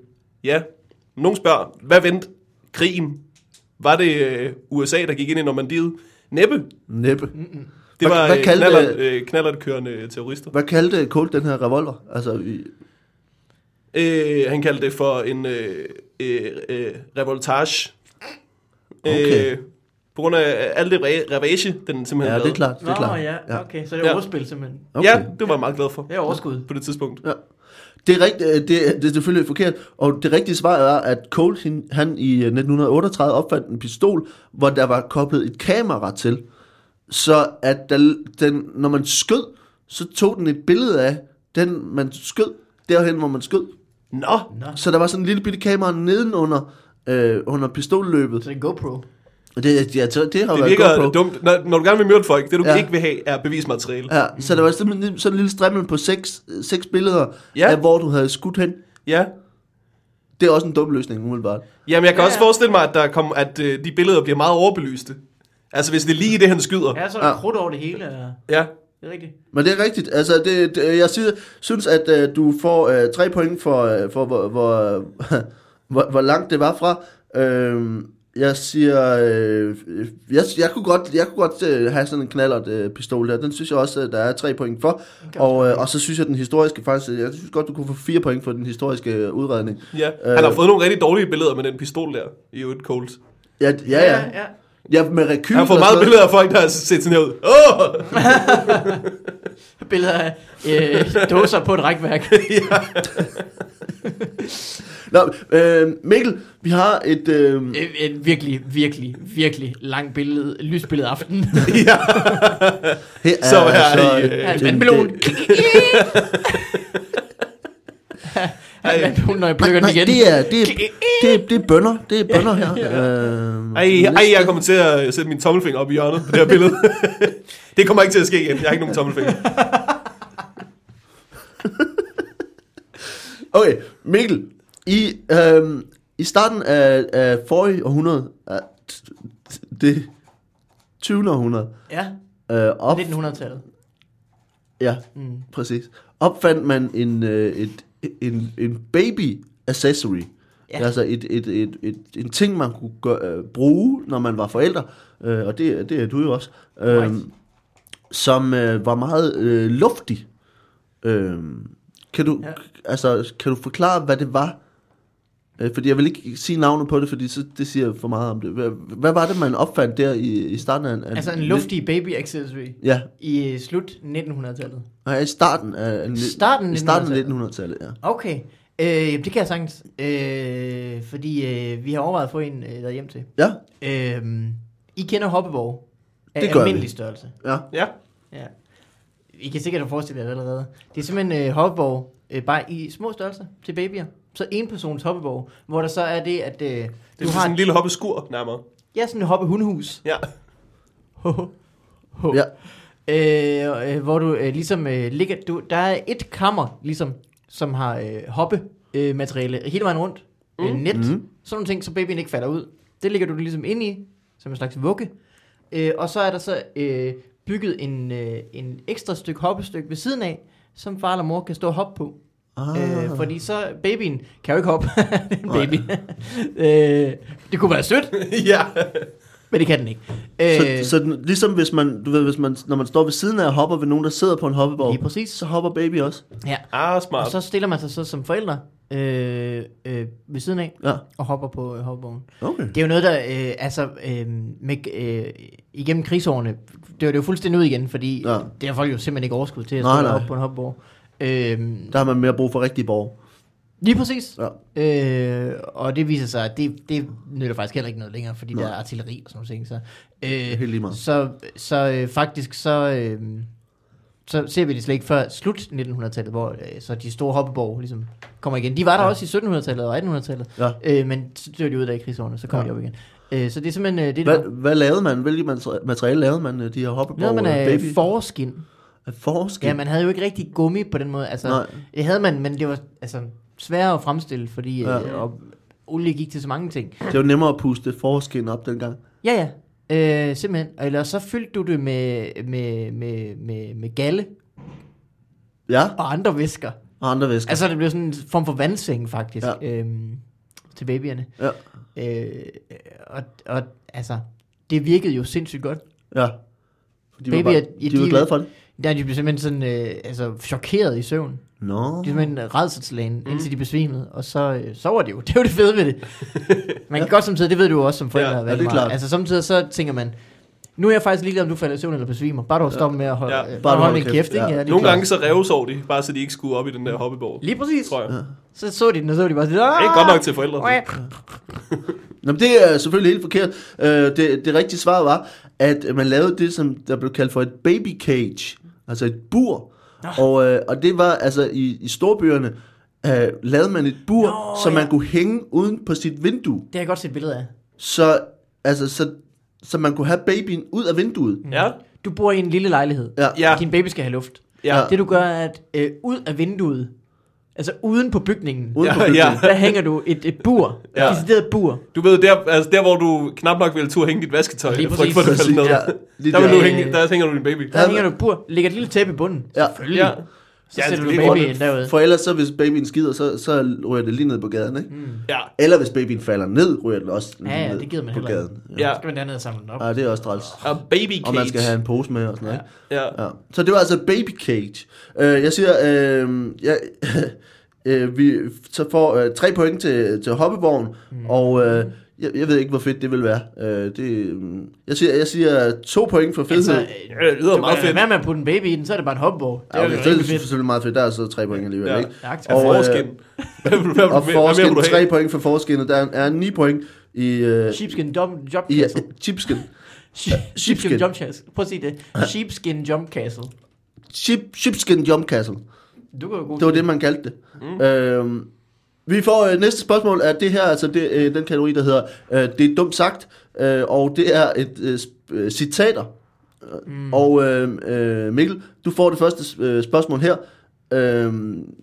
Speaker 2: ja, nogen spørger, hvad vendte krigen? Var det øh, USA, der gik ind i Normandiet? Næppe.
Speaker 1: Næppe.
Speaker 2: Det
Speaker 1: Hvad-
Speaker 2: var
Speaker 1: hvad
Speaker 2: øh,
Speaker 1: kaldte-
Speaker 2: knallert, øh, knallertkørende terrorister.
Speaker 1: Hvad kaldte Colt den her revolver? Altså, i-
Speaker 2: Øh, han kaldte det for en øh, øh, øh, revoltage.
Speaker 1: Okay.
Speaker 2: Øh, på grund af alt det re- ravage, den simpelthen
Speaker 1: ja, det er
Speaker 2: lavede.
Speaker 1: klart, det er
Speaker 3: Nå,
Speaker 1: klart.
Speaker 3: ja, okay. Så det er
Speaker 2: Ja.
Speaker 3: overspil simpelthen.
Speaker 1: Okay.
Speaker 2: Ja, det var jeg meget glad for
Speaker 3: Det er overskud.
Speaker 2: på det tidspunkt.
Speaker 1: Ja. Det er, rigt, øh, det, er- det er selvfølgelig forkert, og det rigtige svar er, at Colt hin- han i øh, 1938 opfandt en pistol, hvor der var koblet et kamera til, så at der, den, når man skød, så tog den et billede af den, man skød, derhen, hvor man skød.
Speaker 2: Nå,
Speaker 1: Så der var sådan en lille bitte kamera nedenunder, øh, under pistolløbet.
Speaker 3: Så det er GoPro.
Speaker 1: Det, ja, så- det har
Speaker 2: det
Speaker 1: været
Speaker 2: virker
Speaker 1: GoPro.
Speaker 2: dumt. Når, når du gerne vil myrde folk, det du
Speaker 1: Ja.
Speaker 2: ja. ikke vil have, er bevismateriale. Ja.
Speaker 1: Ja, så der var simpelthen sådan en lille strimmel på seks, seks billeder,
Speaker 2: Ja.
Speaker 1: af hvor du havde skudt hen.
Speaker 2: ja.
Speaker 1: Det er også en dum løsning, umiddelbart.
Speaker 2: Jamen, jeg kan
Speaker 3: Ja,
Speaker 2: ja. også
Speaker 3: ja.
Speaker 2: forestille mig, at, der kom, at øh, de billeder bliver meget overbelyste. Altså, hvis det er lige det, han skyder. Ja.
Speaker 3: Ja, så er der
Speaker 1: Ja.
Speaker 3: krudt over det hele. og-
Speaker 2: ja.
Speaker 3: Det er rigtigt.
Speaker 1: Men det er rigtigt. Altså, det, det, jeg siger, synes, at øh, du får øh, tre point for, øh, for hvor, hvor, hvor, hvor langt det var fra. Øh, jeg siger, øh, jeg, jeg kunne godt, jeg kunne godt øh, have sådan en knallert øh, pistol der. Den synes jeg også, øh, der er tre point for. Og, øh, og så synes jeg, den historiske faktisk, øh, jeg synes godt, du kunne få fire point for den historiske øh, udredning.
Speaker 2: ja. Han har
Speaker 1: Øh.
Speaker 2: fået nogle rigtig dårlige billeder med den pistol der, i øvrigt Colt.
Speaker 1: Ja, ja, ja.
Speaker 3: ja.
Speaker 1: ja med rekyl
Speaker 2: Jeg har fået
Speaker 1: og
Speaker 2: meget
Speaker 1: sådan noget.
Speaker 2: billeder af folk, der har set sådan her ud. Åh!
Speaker 3: Billeder af øh, dåser på et rækværk.
Speaker 1: Nå, øh, Mikkel, vi har et... Øh,
Speaker 3: Øh, En virkelig, virkelig, virkelig lang billede, lysbillede aften.
Speaker 2: ja.
Speaker 1: her
Speaker 2: Så her er I, øh,
Speaker 1: øh,
Speaker 3: Her er en
Speaker 1: den-
Speaker 3: vandmelon.
Speaker 1: det-
Speaker 3: Her er en vandmelon, når jeg plukker den
Speaker 1: Nej,
Speaker 3: igen.
Speaker 1: det er, det, er, det, er, det er bønder. Det er bønder her. Øh,
Speaker 2: Ej, ej, jeg kommer til at sætte min tommelfinger op i hjørnet på det her billede. det kommer ikke til at ske igen. Jeg har ikke nogen tommelfinger.
Speaker 1: Okay, Mikkel. I, øh, i starten af, af forrige århundrede, af t- t- det 20. århundrede,
Speaker 3: Ja,
Speaker 1: øh, op,
Speaker 3: 1900-tallet.
Speaker 1: ja,
Speaker 3: Mm.
Speaker 1: præcis, opfandt man en, øh, et, en, en baby accessory.
Speaker 3: Ja.
Speaker 1: Ja. Altså et, et, et, et, en ting, man kunne gøre, øh, bruge, når man var forældre, øh, og det, det er du jo også, øh,
Speaker 3: Right.
Speaker 1: som øh, var meget øh, luftig. Øh, kan, du,
Speaker 3: Ja.
Speaker 1: ja. altså, kan du forklare, hvad det var? Øh, fordi jeg vil ikke sige navnet på det, fordi så, det siger for meget om det. Hvad, hvad var det, man opfandt der i, i starten af... af
Speaker 3: Altså en luftig baby accessory
Speaker 1: Ja,
Speaker 3: i øh, slut 1900-tallet.
Speaker 1: nej, i starten af... af-
Speaker 3: Starten
Speaker 1: i starten af 1900-tallet, ja.
Speaker 3: Okay, øh, det kan jeg sagtens, øh, fordi øh, vi har overvejet at få en øh, der hjem til.
Speaker 1: Ja,
Speaker 3: Øh, I kender hoppeborg af
Speaker 1: Det gør vi.
Speaker 3: almindelig størrelse.
Speaker 1: ja.
Speaker 2: Ja.
Speaker 3: Ja. I kan sikkert forestille jer det allerede. Det er simpelthen øh, hoppeborg, øh, bare i små størrelser til babyer. Så en persons hoppeborg, hvor der så er det, at øh,
Speaker 2: Det
Speaker 3: du
Speaker 2: er
Speaker 3: har
Speaker 2: sådan en lille hoppeskur nærmere.
Speaker 3: ja, sådan et hoppehundehus.
Speaker 2: Ja.
Speaker 3: Ho, ho, ho.
Speaker 1: Ja.
Speaker 3: Øh, øh, hvor du øh, ligesom øh, ligger, du, der er et kammer, ligesom, som har øh, hoppe øh, materiale hele vejen rundt, mm. øh, net, mm. sådan nogle ting, så babyen ikke falder ud. Det ligger du ligesom ind i, som en slags vugge. Øh, og så er der så øh, bygget en, øh, en ekstra stykke hoppestykke ved siden af, som far eller mor kan stå og hoppe på.
Speaker 1: Ah,
Speaker 3: Øh, fordi så, babyen kan jo ikke hoppe, Det er en baby. øh, det kunne være sødt,
Speaker 2: ja.
Speaker 3: men det kan den ikke. Øh.
Speaker 1: så, så den, ligesom hvis man, du ved, hvis man, når man står ved siden af og hopper ved nogen, der sidder på en hoppeborg,
Speaker 3: Lige præcis.
Speaker 1: så hopper baby også.
Speaker 3: ja.
Speaker 2: Ah,
Speaker 3: Og
Speaker 2: smart.
Speaker 3: så stiller man sig så som forældre øh, øh, ved siden af
Speaker 1: Ja,
Speaker 3: og hopper på øh, hoppevognen.
Speaker 1: okay.
Speaker 3: Det er jo noget, der øh, altså, øh, med, øh, igennem krigsårene, det var det jo fuldstændig ud igen, fordi
Speaker 1: Ja.
Speaker 3: ja. det har folk jo simpelthen ikke overskud til at
Speaker 1: Nej,
Speaker 3: stå
Speaker 1: nej.
Speaker 3: op på en hoppevogn. Øh,
Speaker 1: Der har man mere brug for rigtige borg.
Speaker 3: lige præcis.
Speaker 1: Ja.
Speaker 3: Øh, og det viser sig, at det, det nytter faktisk heller ikke noget længere, fordi
Speaker 1: Nej.
Speaker 3: der er artilleri og sådan noget. Så, øh,
Speaker 1: helt lige meget.
Speaker 3: så, så øh, faktisk så, øh, så ser vi det slet ikke før slut 1900-tallet, hvor øh, så de store hoppeborg ligesom kommer igen. De var der ja. også i 1700-tallet og 1800-tallet,
Speaker 1: Ja.
Speaker 3: øh, men så dør de ud der i krigsårene, så kommer
Speaker 1: Ja.
Speaker 3: ja. de op igen. Øh, så det er simpelthen øh, det,
Speaker 1: Hvad,
Speaker 3: der.
Speaker 1: hvad lavede man? Hvilket mater- materiale lavede man, øh, de her hoppeborg?
Speaker 3: Noget man
Speaker 1: øh,
Speaker 3: af
Speaker 1: baby?
Speaker 3: forskin.
Speaker 1: Af forskel?
Speaker 3: Ja, man havde jo ikke rigtig gummi på den måde. Altså,
Speaker 1: Nej.
Speaker 3: Det havde man, men det var altså, sværere at fremstille, fordi øh,
Speaker 1: Ja.
Speaker 3: og olie gik til så mange ting.
Speaker 1: Det var nemmere at puste forskin op dengang.
Speaker 3: Ja, ja. Øh, simpelthen. Eller så fyldte du det med, med, med, med, med galle
Speaker 1: Ja,
Speaker 3: og andre væsker.
Speaker 1: og andre væsker.
Speaker 3: Altså, det blev sådan en form for vandseng, faktisk,
Speaker 1: Ja.
Speaker 3: ja. øhm, til babyerne.
Speaker 1: Ja,
Speaker 3: Øh, og, og altså, det virkede jo sindssygt godt.
Speaker 1: ja. De var,
Speaker 3: Baby
Speaker 1: bare,
Speaker 3: er-
Speaker 1: de,
Speaker 3: ja,
Speaker 1: de var
Speaker 3: de-
Speaker 1: glade for det.
Speaker 3: Der de blev simpelthen sådan, øh, altså, chokeret i søvn.
Speaker 1: Nå.
Speaker 3: De er simpelthen redselslagen,
Speaker 1: Mhm.
Speaker 3: mm. indtil de besvimede, og så øh, sover de jo. Det er jo det fede ved det. Man kan godt samtidig, det ved du jo også som forældre.
Speaker 2: Ja,
Speaker 3: hvad
Speaker 1: ja, det er
Speaker 3: meget.
Speaker 1: klart.
Speaker 3: Altså samtidig så tænker man, nu er jeg faktisk ligeglad, om du falder i søvn eller besvimer. Bare du stopper med at holde,
Speaker 2: Ja.
Speaker 3: ja.
Speaker 1: Bare
Speaker 3: bare
Speaker 1: du
Speaker 3: holde
Speaker 1: holder
Speaker 3: din
Speaker 1: kæft,
Speaker 3: kæft. ikke?
Speaker 1: ja.
Speaker 3: Ja. det er
Speaker 2: Nogle
Speaker 3: klart.
Speaker 2: gange så revsov de, bare så de ikke skulle op i den der hoppeborg.
Speaker 3: Lige præcis.
Speaker 2: Tror jeg.
Speaker 3: Så så de den, og så var de bare sådan,
Speaker 2: Det er ikke godt nok til forældre.
Speaker 3: "Åh,
Speaker 1: Nå, men det er selvfølgelig helt forkert. Øh, det, det rigtige svar var, at man lavede det, som der blev kaldt for et baby cage, altså et bur. Og, øh, og det var altså i, i storbyerne, øh, lavede man et bur, Nå,
Speaker 3: Nå,
Speaker 1: som man
Speaker 3: ja.
Speaker 1: kunne hænge uden på sit vindue.
Speaker 3: Det har jeg godt set billeder af.
Speaker 1: Så, altså, så, så man kunne have babyen ud af vinduet.
Speaker 2: Ja.
Speaker 3: Du bor i en lille lejlighed.
Speaker 1: Ja.
Speaker 2: Ja.
Speaker 3: Din baby skal have luft.
Speaker 2: Ja.
Speaker 3: Det du gør, er at øh, ud af vinduet, altså uden på bygningen,
Speaker 1: Uden
Speaker 2: Ja,
Speaker 1: på bygningen.
Speaker 2: ja.
Speaker 3: der hænger du et, et bur.
Speaker 2: Ja.
Speaker 3: Ja. Et decideret bur.
Speaker 2: Du ved, der, altså der hvor du knap nok ville turde hænge dit vasketøj,
Speaker 3: Lige
Speaker 2: jeg frygter
Speaker 3: præcis.
Speaker 2: for, at
Speaker 1: Præcis,
Speaker 2: det faldt ned.
Speaker 1: ja. Lige
Speaker 2: Der, vil
Speaker 1: der.
Speaker 2: du hænge, der hænger du din baby.
Speaker 3: Der
Speaker 1: Ja.
Speaker 3: hænger du et bur, lægger et lille tæppe i bunden.
Speaker 1: Ja.
Speaker 3: Selvfølgelig.
Speaker 2: Ja.
Speaker 3: Så
Speaker 2: Ja,
Speaker 3: sætter
Speaker 2: det
Speaker 3: du
Speaker 2: er
Speaker 3: babyen derude.
Speaker 1: For ellers så, hvis babyen skider, så, så ryger det lige ned på gaden, ikke? Mm.
Speaker 2: Ja.
Speaker 1: Eller hvis babyen falder ned, ryger den også
Speaker 3: Ja, ja,
Speaker 1: ned
Speaker 3: det gider man
Speaker 1: på
Speaker 3: heller
Speaker 1: gaden.
Speaker 2: Ja.
Speaker 3: Så skal man derned og samle den op.
Speaker 1: Ja, det er også træls.
Speaker 2: Og baby cage.
Speaker 1: Og man skal have en pose med og sådan noget.
Speaker 2: Ja.
Speaker 1: Ja. Ja. Så det var altså baby cage. Øh, jeg siger, øh, jeg, øh, vi så får øh, tre point til, til hoppevogn, mm. og øh, jeg, jeg ved ikke, hvor fedt det vil være. Øh, det, mm, jeg, siger, jeg siger to point for fedhed.
Speaker 3: Altså,
Speaker 1: Altså,
Speaker 3: øh,
Speaker 2: Ja, det lyder
Speaker 3: du
Speaker 2: meget
Speaker 3: kan lade
Speaker 2: fedt.
Speaker 3: være med at putte en baby i den, så er det bare en hopborg. Det
Speaker 1: ja,
Speaker 3: er
Speaker 1: okay,
Speaker 3: jo
Speaker 1: det er
Speaker 3: rigtig fedt.
Speaker 1: selvfølgelig meget fedt. Der er så tre point alligevel,
Speaker 2: Ja.
Speaker 1: ikke?
Speaker 3: Ja, tak.
Speaker 2: Og
Speaker 1: Og, øh,
Speaker 2: forskin. Hvad vil du- hvad vil du-
Speaker 1: Og
Speaker 2: hvad mere vil
Speaker 1: forskin,
Speaker 2: du have?
Speaker 1: tre point for forskinnet. Der er ni point i... Øh,
Speaker 3: Sheepskin jump, jump
Speaker 1: i
Speaker 3: castle.
Speaker 1: chipskin.
Speaker 3: She-
Speaker 1: sheepskin.
Speaker 3: Sheepskin jump castle. Prøv at sige det. Sheepskin jump castle.
Speaker 1: Chip, chipskin jump castle.
Speaker 3: Du kan jo god
Speaker 1: Det var det, man kaldte det. Mm. Øhm, vi får øh, næste spørgsmål er det her, altså det, øh, den kategori, der hedder øh, Det er dumt sagt, øh, og det er et øh, sp- øh, citater. Mm. Og øh, øh, Mikkel, du får det første øh, spørgsmål her. Øh,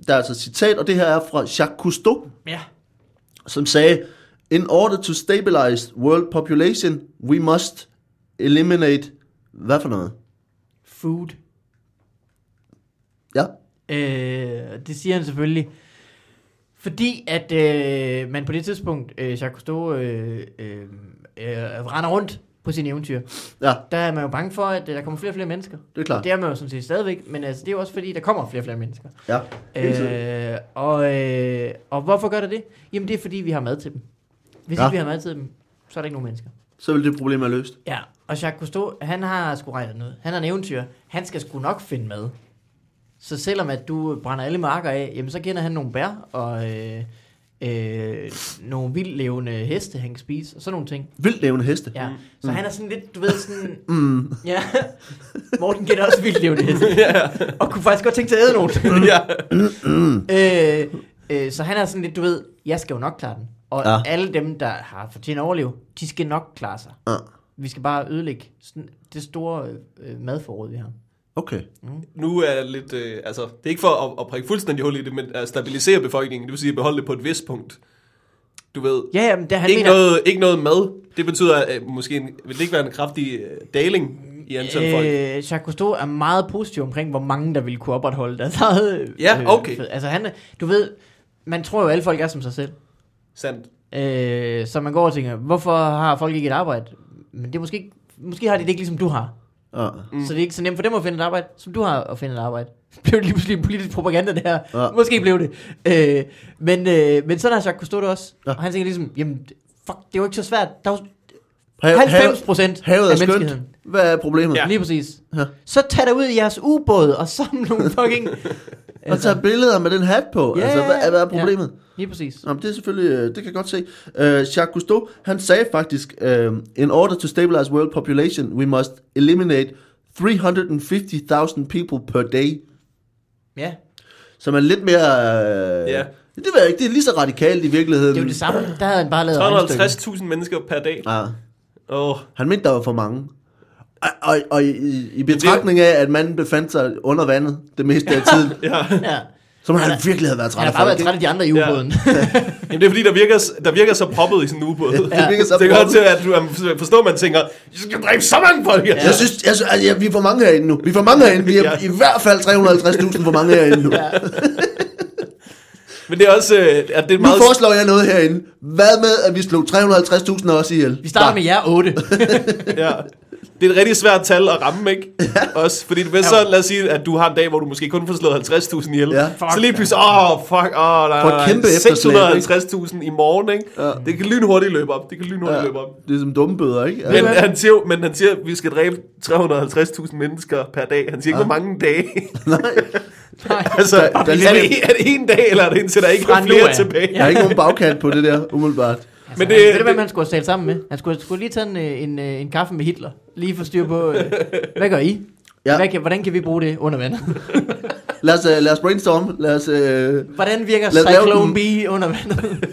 Speaker 1: der er altså et citat, og det her er fra Jacques Cousteau,
Speaker 3: Ja.
Speaker 1: som sagde, In order to stabilize world population, we must eliminate... Hvad for noget?
Speaker 3: Food.
Speaker 1: Ja,
Speaker 3: Øh, det siger han selvfølgelig. Fordi at øh, man på det tidspunkt, øh, Jacques Cousteau, øh, øh, øh, render rundt på sine eventyr.
Speaker 1: Ja,
Speaker 3: Der er man jo bange for, at øh, der kommer flere og flere mennesker.
Speaker 1: det er klart.
Speaker 3: Det er man jo sådan set stadigvæk, men altså, det er jo også fordi, der kommer flere og flere mennesker.
Speaker 1: Ja, hele tiden.
Speaker 3: Øh, og, øh, og hvorfor gør der det? Jamen det er fordi, vi har mad til dem. Hvis
Speaker 1: Ja.
Speaker 3: ja. ikke vi har mad til dem, så er der ikke nogen mennesker.
Speaker 1: Så vil det problem være løst.
Speaker 3: Ja, og Jacques Cousteau, han har sgu regnet noget. Han er en eventyr. Han skal sgu nok finde mad. Så selvom at du brænder alle marker af, jamen så kender han nogle bær og øh, øh, nogle vildlevende heste, han kan spise, og sådan nogle ting.
Speaker 1: Vildt levende heste.
Speaker 2: Mm.
Speaker 3: Ja. Så han er sådan lidt, du ved, sådan... Mm. Ja. Morten kender også vildlevende heste. Og kunne faktisk godt tænke sig at æde nogen.
Speaker 2: Mm. ja.
Speaker 3: øh, øh, så han er sådan lidt, du ved, jeg skal jo nok klare den. Og
Speaker 1: Ja.
Speaker 3: ja. alle dem, der har fortjent at overleve, de skal nok klare sig.
Speaker 1: Ja.
Speaker 3: Vi skal bare ødelægge sådan det store øh, madforråd, vi har.
Speaker 1: Okay.
Speaker 2: Nu er jeg lidt, øh, altså, det er ikke for at, at prikke fuldstændig hul i det, men at stabilisere befolkningen, det vil sige at beholde det på et vist punkt. Du ved,
Speaker 3: Ja, ja, men det, han
Speaker 2: ikke,
Speaker 3: mener...
Speaker 2: noget, ikke noget mad. Det betyder øh, måske, en, vil det ikke være en kraftig øh, daling i antal øh, folk?
Speaker 3: Øh, Jacques Cousteau er meget positiv omkring, hvor mange der ville kunne opretholde deres eget... øh,
Speaker 2: Ja, okay.
Speaker 3: fed- Altså han, er- du ved, man tror jo, at alle folk er som sig selv.
Speaker 2: Sandt.
Speaker 3: Øh, så man går og tænker, hvorfor har folk ikke et arbejde? Men det er måske ikke, måske har de det ikke ligesom du har.
Speaker 1: Ja.
Speaker 3: Mm. Så det er ikke så nemt for dem at finde et arbejde, som du har at finde et arbejde. Blev det lige pludselig politisk propaganda, det her?
Speaker 1: Ja.
Speaker 3: Ja. Måske blev det. Øh, men, øh, men sådan har Jacques Cousteau det også.
Speaker 1: Ja.
Speaker 3: Ja. Og han tænker ligesom, jamen, fuck, det er jo ikke så svært. Der er jo
Speaker 1: Ha-
Speaker 3: 90 procent af
Speaker 1: havet er
Speaker 3: menneskeheden.
Speaker 1: skønt. Hvad er problemet?
Speaker 2: Ja.
Speaker 3: Ja. Lige præcis.
Speaker 1: Ja.
Speaker 3: Ja. Så tag dig ud i jeres ubåd og samle nogle fucking...
Speaker 1: Og tage billeder med den hat på.
Speaker 3: Altså- Ja,
Speaker 1: altså, hvad, hvad er problemet?
Speaker 3: lige præcis.
Speaker 1: Jamen, det er selvfølgelig, øh, det kan jeg godt se. Uh, Jacques Cousteau, han sagde faktisk, uh, in order to stabilize world population, we must eliminate 350.000 people per day.
Speaker 3: Ja,
Speaker 1: Som er lidt mere... Uh,
Speaker 2: Ja.
Speaker 1: Det ved jeg ikke, det er lige så radikalt i virkeligheden.
Speaker 3: det er jo det samme. Der havde han bare lavet regnestykket.
Speaker 2: 350.000 mennesker per dag.
Speaker 1: Ja,
Speaker 2: Åh,
Speaker 1: Ah. han mente, der var for mange. Og, og, og i, i betragtning af, at manden befandt sig under vandet det meste af tiden,
Speaker 2: ja.
Speaker 3: Ja.
Speaker 1: så må han virkelig have været træt
Speaker 3: Han har
Speaker 1: af
Speaker 3: bare
Speaker 1: folk.
Speaker 3: været
Speaker 1: ikke?
Speaker 3: træt af de andre i
Speaker 2: Ja.
Speaker 3: ubåden.
Speaker 2: Jamen, det er fordi, der virker, der virker så proppet i sådan en ubåd.
Speaker 1: det virker så
Speaker 2: det er godt
Speaker 1: proppet.
Speaker 2: til, at du jeg forstår, at man tænker, jeg skal dræbe så mange folk. Ja.
Speaker 1: Jeg synes, jeg synes altså, ja, vi er for mange herinde nu. Vi er for mange herinde. Vi er
Speaker 2: Ja.
Speaker 1: i hvert fald 350.000 for mange herinde nu.
Speaker 2: Men det er også, øh, at det er
Speaker 1: Nu
Speaker 2: meget...
Speaker 1: foreslår jeg noget herinde. Hvad med, at vi slog 350.000 også ihjel?
Speaker 3: Vi starter med jer otte.
Speaker 2: Ja. Det er et rigtig svært tal at ramme, ikke? Også, fordi hvis så, lad os sige, at du har en dag, hvor du måske kun får slået 50.000 ihjel.
Speaker 1: Ja.
Speaker 2: Så lige pludselig, åh, oh, fuck, åh, oh, nej,
Speaker 1: For et
Speaker 2: nej,
Speaker 1: kæmpe efterslæb,
Speaker 2: nej, 650.000 i morgen, ikke? Ja. Det kan lynhurtigt løbe op, det kan lynhurtigt ja. løbe op.
Speaker 1: Det er som dumme bøder, ikke?
Speaker 2: Men
Speaker 1: Altså,
Speaker 3: hvad?
Speaker 2: han, siger, jo- men han siger, at vi skal dræbe 350.000 mennesker per dag. Han siger ikke, hvor mange dage.
Speaker 1: Altså, nej.
Speaker 3: Nej.
Speaker 2: altså,
Speaker 1: Der- der
Speaker 2: er,
Speaker 1: ligesom-
Speaker 2: det, er det en dag, eller er det indtil der ikke er
Speaker 3: Fra nu
Speaker 2: flere
Speaker 3: af.
Speaker 2: tilbage?
Speaker 1: Der er ikke nogen bagkant på det der, umiddelbart.
Speaker 3: Men
Speaker 2: Men
Speaker 3: det,
Speaker 2: det-
Speaker 3: Altså, han, ved du, hvad
Speaker 2: det-
Speaker 3: man skulle have talt sammen med? Han skulle, skulle lige tage en, øh, en, øh, en kaffe med Hitler. Lige for styr på, øh, hvad gør I?
Speaker 1: Ja.
Speaker 3: Ja. Hvad kan, hvordan kan vi bruge det under vand?
Speaker 1: Lad os, øh, lad os brainstorme. Lad os, øh,
Speaker 3: Hvordan virker
Speaker 1: Lad os lave
Speaker 3: Cyclone
Speaker 1: den-
Speaker 3: B under vandet?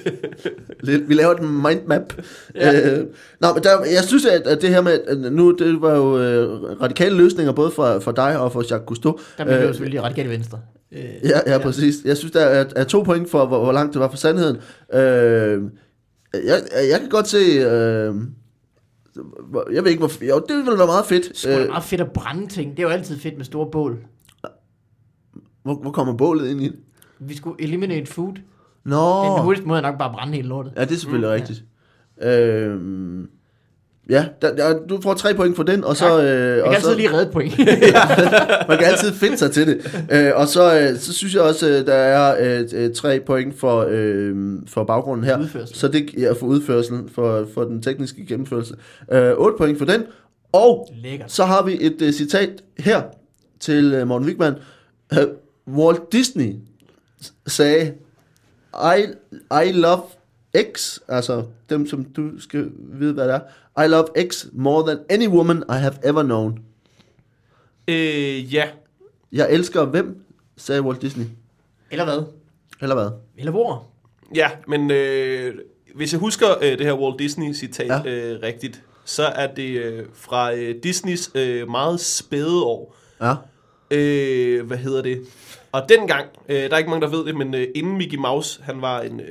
Speaker 1: lidt- vi laver et mindmap.
Speaker 3: Ja.
Speaker 1: Øh, nå, men der, jeg synes, at, at det her med, at nu, det var jo øh, radikale løsninger, både for, for dig og for Jacques Cousteau.
Speaker 3: Der blev det jo selvfølgelig radikale venstre. Øh,
Speaker 1: Ja, ja, præcis. Jeg synes, der er, er to point for, hvor, hvor langt det var fra sandheden. Øh, jeg, jeg kan godt se... Øh, hvor- jeg ved ikke, hvor... Jo, det ville være meget fedt.
Speaker 3: det er
Speaker 1: Øh,
Speaker 3: meget fedt at brænde ting. Det er jo altid fedt med store bål.
Speaker 1: hvor, hvor kommer bålet ind i det?
Speaker 3: Vi skulle eliminate food. Den
Speaker 1: Nå!
Speaker 3: hurtigste måde er nok bare at brænde hele lortet.
Speaker 1: Ja, det er selvfølgelig mm, rigtigt. Ja, øhm, ja der, der, du får tre point for den, og så...
Speaker 3: Tak.
Speaker 1: Øh,
Speaker 3: Jeg
Speaker 1: og
Speaker 3: kan altid
Speaker 1: så
Speaker 3: lige redde et point.
Speaker 1: man kan altid finde sig til det. Øh, og så, øh, så synes jeg også, øh, der er øh, øh, tre point for, øh, for baggrunden her.
Speaker 3: Udførsel.
Speaker 1: Så det ja, for udførselen, for, for den tekniske gennemførelse. Øh, 8 point for den. Og
Speaker 3: Lækkert.
Speaker 1: så har vi et øh, citat her til øh, Morten Wigman. Øh, Walt Disney s- sagde, I, I love X, altså dem, som du skal vide, hvad det er. I love X more than any woman I have ever known.
Speaker 2: Øh, ja.
Speaker 1: Jeg elsker hvem, sagde Walt Disney.
Speaker 3: Eller hvad?
Speaker 1: Eller hvad?
Speaker 3: Eller hvor?
Speaker 2: Ja, men øh, hvis jeg husker øh, det her Walt Disney-citat
Speaker 1: Ja.
Speaker 2: ja. øh, rigtigt, så er det øh, fra øh, Disneys øh, meget spæde år.
Speaker 1: Ja.
Speaker 2: Øh, hvad hedder det? Og dengang, øh, der er ikke mange, der ved det, men øh, inden Mickey Mouse, han var en øh,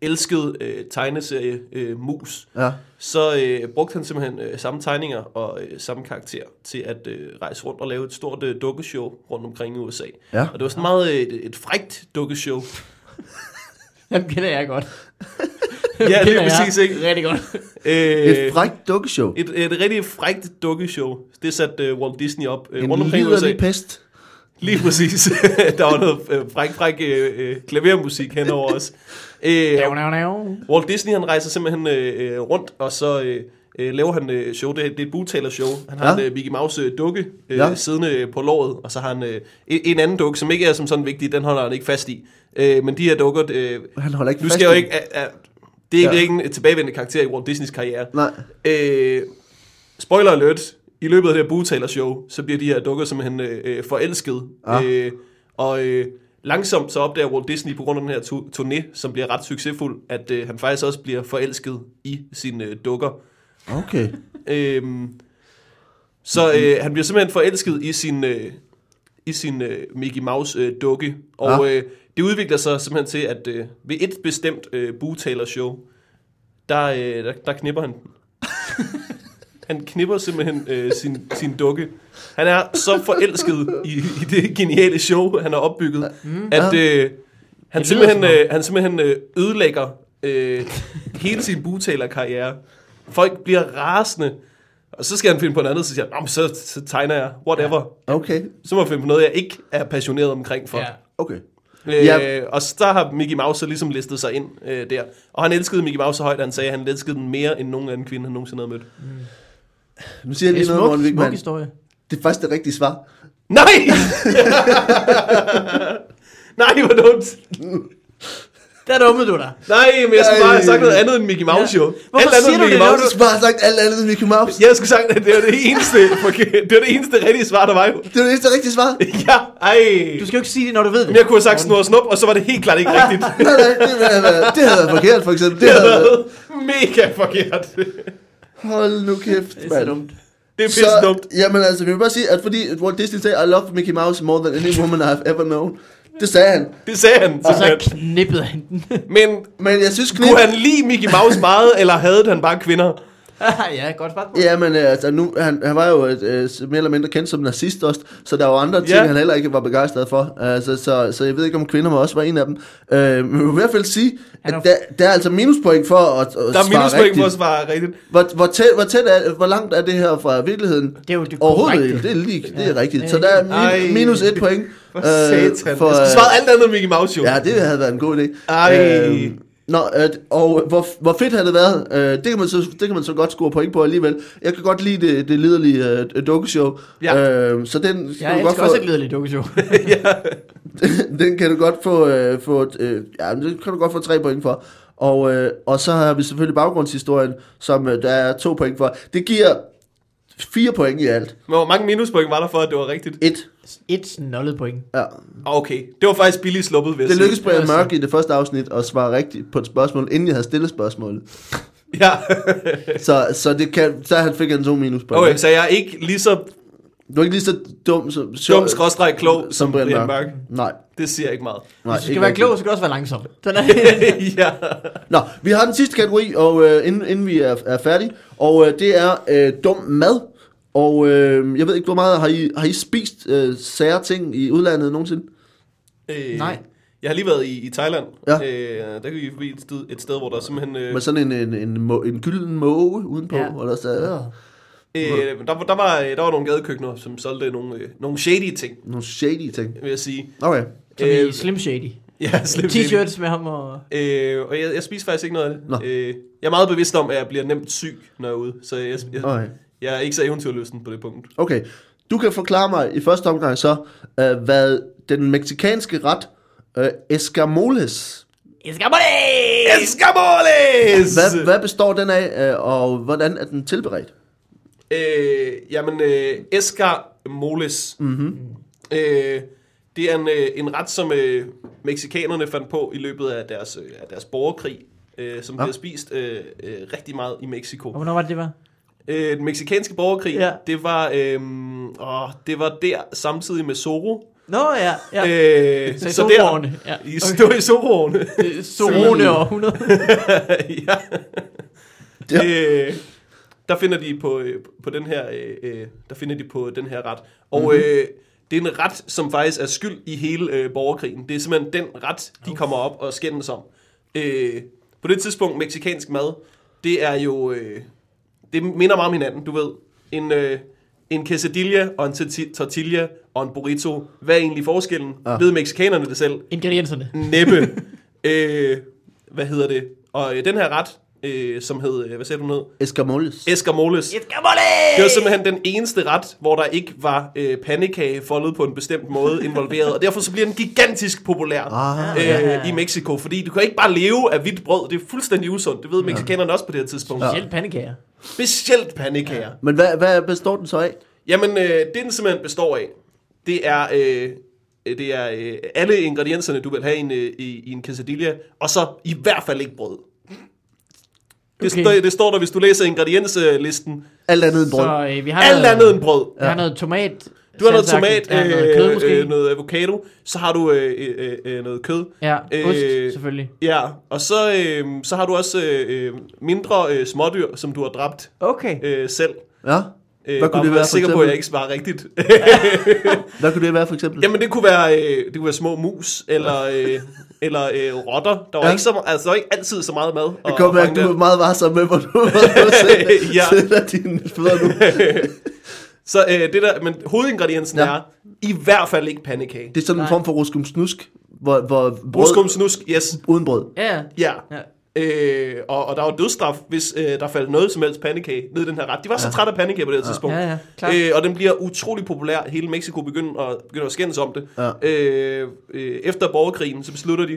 Speaker 2: elsket øh, tegneserie øh, mus,
Speaker 1: Ja.
Speaker 2: så øh, brugte han simpelthen øh, samme tegninger og øh, samme karakter til at øh, rejse rundt og lave et stort øh, dukkeshow rundt omkring i USA.
Speaker 1: Ja.
Speaker 2: Og det var sådan meget øh, et, et frægt dukkeshow.
Speaker 3: Jamen kender jeg godt.
Speaker 2: Ja, det
Speaker 3: Kender
Speaker 2: er
Speaker 3: jeg
Speaker 2: præcis, ikke?
Speaker 3: Rigtig godt.
Speaker 2: Øh,
Speaker 1: Et frækt dukkeshow.
Speaker 2: et, et rigtig frækt dukkeshow. Det satte uh, Walt Disney op uh, rundt
Speaker 1: En
Speaker 2: omkring i USA.
Speaker 1: liderlig pest.
Speaker 2: Lige præcis. der var noget øh, fræk, fræk øh, øh, klavermusik henover os. Øh,
Speaker 3: Nav, nav, nav.
Speaker 2: Walt Disney han rejser simpelthen øh, øh, rundt, og så øh, øh, laver han øh, show. Det, er- det er et bugtaler-show. Han har
Speaker 1: Ja.
Speaker 2: ja. en øh, Mickey Mouse-dukke øh,
Speaker 1: Ja.
Speaker 2: ja. siddende øh, på låret, og så har han øh, en, en anden dukke, som ikke er som sådan vigtig. Den holder han ikke fast i. Øh, men de her dukker... Øh,
Speaker 1: Han holder ikke
Speaker 2: nu
Speaker 1: fast
Speaker 2: skal jeg jo
Speaker 1: i
Speaker 2: ikke... Er, er, det er
Speaker 1: Ja.
Speaker 2: ikke, ja. ikke en tilbagevendende karakter i Walt Disneys karriere.
Speaker 1: Nej.
Speaker 2: Øh, spoiler alert. I løbet af det her bugtaler-show, så bliver de her dukker simpelthen øh, øh, forelsket.
Speaker 1: Ah.
Speaker 2: Ah. Øh, og øh, langsomt så opdager Walt Disney på grund af den her tu- turné, som bliver ret succesfuld, at øh, han faktisk også bliver forelsket i sine øh, dukker.
Speaker 1: Okay.
Speaker 2: Øhm, så øh, han bliver simpelthen forelsket i sin, øh, i sin øh, Mickey Mouse-dukke. og øh, det udvikler sig simpelthen til, at øh, ved et bestemt øh, bugtaler-show, der, øh, der, der knipper han den. Han knipper simpelthen øh, sin, sin dukke. Han er så forelsket i, i det geniale show, han har opbygget, at øh, han,
Speaker 3: Det lyder
Speaker 2: simpelthen,
Speaker 3: som om.
Speaker 2: øh, han simpelthen øh, ødelægger øh, hele sin butalerkarriere. Folk bliver rasende, og så skal han finde på noget andet, så siger han, "Nå, men så, så tegner jeg, whatever.
Speaker 1: Okay.
Speaker 2: Så må jeg finde på noget, jeg ikke er passioneret omkring for.
Speaker 3: Ja.
Speaker 1: Okay.
Speaker 2: Øh,
Speaker 1: Ja.
Speaker 2: Og så har Mickey Mouse så ligesom listet sig ind øh, der. Og han elskede Mickey Mouse så højt, at han sagde, at han elskede den mere end nogen anden kvinde, han nogensinde havde mødt.
Speaker 1: Nu siger jeg
Speaker 3: Det er
Speaker 1: lige noget, Morten
Speaker 3: smuk, smuk
Speaker 1: Wigman.
Speaker 3: historie.
Speaker 1: Det er faktisk det rigtige svar.
Speaker 2: Nej! Nej, hvor dumt.
Speaker 3: Der dummede du dig.
Speaker 2: Nej, men jeg skulle
Speaker 1: Ej.
Speaker 2: bare have sagt noget andet end Mickey Mouse, jo.
Speaker 3: Ja. Hvorfor
Speaker 2: Alt andet
Speaker 3: siger
Speaker 2: end
Speaker 3: du
Speaker 2: Mickey
Speaker 3: det, når
Speaker 1: Du
Speaker 2: Mouse.
Speaker 1: skulle bare have sagt alt andet end Mickey Mouse.
Speaker 2: Jeg skulle sagt, at det var det eneste, det var det eneste rigtige svar, der var jo.
Speaker 1: Det er det eneste rigtige svar.
Speaker 2: Ja, ej.
Speaker 3: Du skal jo ikke sige det, når du ved det.
Speaker 2: Men jeg kunne have sagt snor og snup, og så var det helt klart ikke rigtigt.
Speaker 1: Nej, nej, det havde været, det havde været forkert, for eksempel. Det
Speaker 2: Det
Speaker 1: havde
Speaker 2: havde
Speaker 1: været,
Speaker 2: været mega forkert.
Speaker 1: hold nu kæft,
Speaker 3: Det er så
Speaker 1: mand.
Speaker 3: dumt.
Speaker 2: Det er pisse dumt.
Speaker 1: jamen altså, vi vil bare sige, at fordi Walt Disney sagde, I love Mickey Mouse more than any woman I've ever known. Det sagde han.
Speaker 2: Det sagde han.
Speaker 3: Og så
Speaker 2: simpelthen.
Speaker 3: knippede han den.
Speaker 2: Men
Speaker 1: Men jeg synes knip...
Speaker 2: kunne han lide Mickey Mouse meget, eller havde han bare kvinder?
Speaker 3: ja, godt spørgsmål.
Speaker 1: Jamen øh, altså, nu, han, han var jo et, øh, mere eller mindre kendt som nazist også, så der var andre ting,
Speaker 2: Ja.
Speaker 1: han heller ikke var begejstret for. Altså, så, så jeg ved ikke, om kvinder må også være en af dem. Øh, men jeg vil i hvert fald sige, at
Speaker 3: Han er-
Speaker 1: der, der er altså minuspoint for at, at
Speaker 2: Der er
Speaker 1: svare
Speaker 2: minuspoint
Speaker 1: rigtigt.
Speaker 2: for at svare rigtigt.
Speaker 1: Hvor, hvor, tæt, hvor, tæt er, hvor langt er det her fra virkeligheden?
Speaker 3: Det er jo det
Speaker 1: Overhovedet ikke.
Speaker 3: korrekte.
Speaker 1: Det er lige, det er
Speaker 3: Ja.
Speaker 1: rigtigt.
Speaker 3: Ja,
Speaker 1: Så der er min,
Speaker 2: Ej.
Speaker 1: minus et point.
Speaker 2: For satan.
Speaker 1: Øh, for, øh,
Speaker 2: Jeg skulle svare alt andet end Mickey Mouse, jo.
Speaker 1: Ja, det havde været en god idé.
Speaker 2: Ej.
Speaker 1: nå, øh, og hvor, hvor fedt har det været? Øh, det, kan man så, det kan man så godt score point på alligevel. Jeg kan godt lide det, det liderlige øh, dukkeshow.
Speaker 2: Ja.
Speaker 1: Øh, så den, skal
Speaker 3: Jeg
Speaker 1: du godt få,
Speaker 3: elsker også et liderligt dukkeshow.
Speaker 1: den kan du godt få, øh, få et, øh, ja, den kan du godt få tre point for. Og, øh, og så har vi selvfølgelig baggrundshistorien, som øh, der er to point for. Det giver fire point i alt.
Speaker 2: Men hvor mange minuspoint var der for, at det var rigtigt?
Speaker 1: Et.
Speaker 3: Et snollet point.
Speaker 1: Ja.
Speaker 2: Ah, Okay, det var faktisk billigt sluppet, vil jeg
Speaker 1: Det
Speaker 2: sige.
Speaker 1: lykkedes Brian
Speaker 3: Det var
Speaker 1: Mørk i det første afsnit at svare rigtigt på et spørgsmål, inden jeg havde stillet spørgsmålet.
Speaker 2: Ja.
Speaker 1: Så, så, det kan, så han fik han to minus på.
Speaker 2: Okay, så jeg er ikke lige så
Speaker 1: Du er ikke lige så øh, dum som,
Speaker 2: dum skråstreg klog som Brian Mørk.
Speaker 1: Nej.
Speaker 2: Det siger ikke meget.
Speaker 1: Nej,
Speaker 3: Hvis du
Speaker 1: ikke
Speaker 3: skal være
Speaker 1: rigtig.
Speaker 3: klog, så skal du også være langsom. Den er
Speaker 2: ja.
Speaker 1: Nå, vi har den sidste kategori, og øh, inden, inden vi er, er færdige, og øh, det er øh, dum mad. Og øh, jeg ved ikke, hvor meget har I, har I spist øh, sære ting i udlandet nogensinde?
Speaker 2: Øh,
Speaker 3: Nej.
Speaker 2: Jeg har lige været i, i Thailand.
Speaker 1: Ja.
Speaker 2: Øh, der kan vi forbi et sted, et sted hvor der simpelthen... Øh,
Speaker 1: Med sådan en, en, en, må, en gylden måge udenpå?
Speaker 3: Ja.
Speaker 1: Ja. Eller så,
Speaker 3: Øh.
Speaker 2: øh, der, der, var, øh, der var nogle gadekøkkener, som solgte nogle, øh, nogle shady ting,
Speaker 1: nogle shady ting.
Speaker 2: vil jeg sige.
Speaker 1: Okay.
Speaker 3: Som i
Speaker 2: Øh,
Speaker 3: Slim Shady.
Speaker 2: Ja, slim
Speaker 3: T-shirts med ham og...
Speaker 2: Øh, og jeg, jeg spiser faktisk ikke noget af
Speaker 1: Nå.
Speaker 2: det. Øh, jeg er meget bevidst om, at jeg bliver nemt syg, når jeg er ude. Så jeg, jeg,
Speaker 1: Okay.
Speaker 2: jeg er ikke så eventyrlysten på det punkt.
Speaker 1: Okay, du kan forklare mig i første omgang så, øh, hvad den meksikanske ret øh, escamoles,
Speaker 3: Escamole!
Speaker 2: Escamoles!
Speaker 1: hvad, hvad består den af, øh, og hvordan er den tilberedt?
Speaker 2: Øh, jamen, øh, Escar Moles. Mm-hmm.
Speaker 3: Mhm.
Speaker 2: Øh, det er en, øh, en ret, som øh, meksikanerne fandt på i løbet af deres, øh, af deres borgerkrig, øh, som ja. bliver spist øh, øh, rigtig meget i Mexico.
Speaker 3: Og hvornår var det, det var?
Speaker 2: Øh, den meksikanske borgerkrig,
Speaker 3: Ja.
Speaker 2: ja. det, var, øh, åh, det var der samtidig med Zorro.
Speaker 3: Nå, ja. ja.
Speaker 2: Ja. Øh,
Speaker 3: Så i Zorroerne. Ja.
Speaker 2: I, okay. Det var i Zorroerne.
Speaker 3: Øh, Zorone og 100.
Speaker 2: ja.
Speaker 1: Ja.
Speaker 2: Øh, der finder de på, øh, på den her øh, øh, der finder de på den her ret. Og mm-hmm. øh, det er en ret som faktisk er skyld i hele øh, borgerkrigen. Det er simpelthen den ret de kommer op og skændes om. Øh, På det tidspunkt, meksikansk mad, det er jo... Øh, det minder meget om hinanden, du ved. En, øh, en quesadilla og en torti- tortilla og en burrito. Hvad er egentlig forskellen?
Speaker 1: Ah.
Speaker 2: Ah. Ved meksikanerne det selv?
Speaker 3: Ingredienserne.
Speaker 1: Mm.
Speaker 2: Næppe. øh, hvad hedder det? Og øh, den her ret, øh, som hed... Øh, hvad sagde du ned?
Speaker 1: Escamoles.
Speaker 2: Escamoles. Det var simpelthen den eneste ret, hvor der ikke var øh, pandekage foldet på en bestemt måde involveret, og derfor så bliver den gigantisk populær
Speaker 1: Ah.
Speaker 2: øh, i Mexico, fordi du kan ikke bare leve af hvidt brød, det er fuldstændig usundt, det ved mexikanerne også på det her tidspunkt. Ja.
Speaker 3: Specielt pandekager.
Speaker 2: Specielt pandekager.
Speaker 1: Men hvad, hvad består den så af?
Speaker 2: Jamen, øh, det den simpelthen består af, det er, øh, det er øh, alle ingredienserne, du vil have i en, øh, i, i en quesadilla, og så i hvert fald ikke brød. Det,
Speaker 3: Okay.
Speaker 2: okay. det står der, hvis du læser ingredienslisten.
Speaker 1: Alt andet end brød.
Speaker 3: Så øh, vi har
Speaker 2: Alt
Speaker 3: noget,
Speaker 2: andet end brød.
Speaker 3: Vi har noget tomat.
Speaker 2: Du har noget
Speaker 3: salsa,
Speaker 2: tomat,
Speaker 3: ja,
Speaker 2: øh,
Speaker 3: noget kød måske.
Speaker 2: øh, noget avocado, så har du øh, øh, øh, noget kød.
Speaker 3: ja, ost
Speaker 2: øh,
Speaker 3: selvfølgelig.
Speaker 2: Ja, og så, øh, så har du også øh, øh, mindre øh, smådyr, som du har dræbt
Speaker 3: Okay.
Speaker 2: øh, selv.
Speaker 1: Ja.
Speaker 2: Øh,
Speaker 1: Hvad
Speaker 2: bare
Speaker 1: kunne
Speaker 2: for
Speaker 1: det
Speaker 2: at
Speaker 1: være for
Speaker 2: sikker på, at jeg
Speaker 1: eksempel?
Speaker 2: ikke svarer rigtigt.
Speaker 1: Hvad kunne det være for eksempel?
Speaker 2: Jamen, det kunne være, øh, det kunne være små mus, eller, øh, eller øh, rotter. Der var,
Speaker 1: Ja.
Speaker 2: ja. ikke så, meget- altså, der var ikke altid så meget mad.
Speaker 1: Jeg kan godt mærke, at du er meget varsom med, hvor du
Speaker 2: Ja.
Speaker 1: sætter dine fødder nu.
Speaker 2: Så øh, det der, men hovedingrediensen
Speaker 1: Ja.
Speaker 2: ja. er i hvert fald ikke pandekage.
Speaker 1: Det er sådan en
Speaker 3: Nej.
Speaker 1: form for ruskumsnusk, hvor, hvor brød
Speaker 2: Bruskum, snusk, yes.
Speaker 1: uden brød.
Speaker 3: Ja,
Speaker 2: Ja.
Speaker 3: ja.
Speaker 2: Øh, og, og der var dødsstraf, hvis øh, der faldt noget som helst pandekage ned i den her ret. De var ja. så trætte af pandekage på det her tidspunkt.
Speaker 3: Ja, ja, klart.
Speaker 2: øh, og den bliver utrolig populær. Hele Mexico begynder at, begynder at skændes om det.
Speaker 1: Ja.
Speaker 2: Øh, øh, efter borgerkrigen, så beslutter de,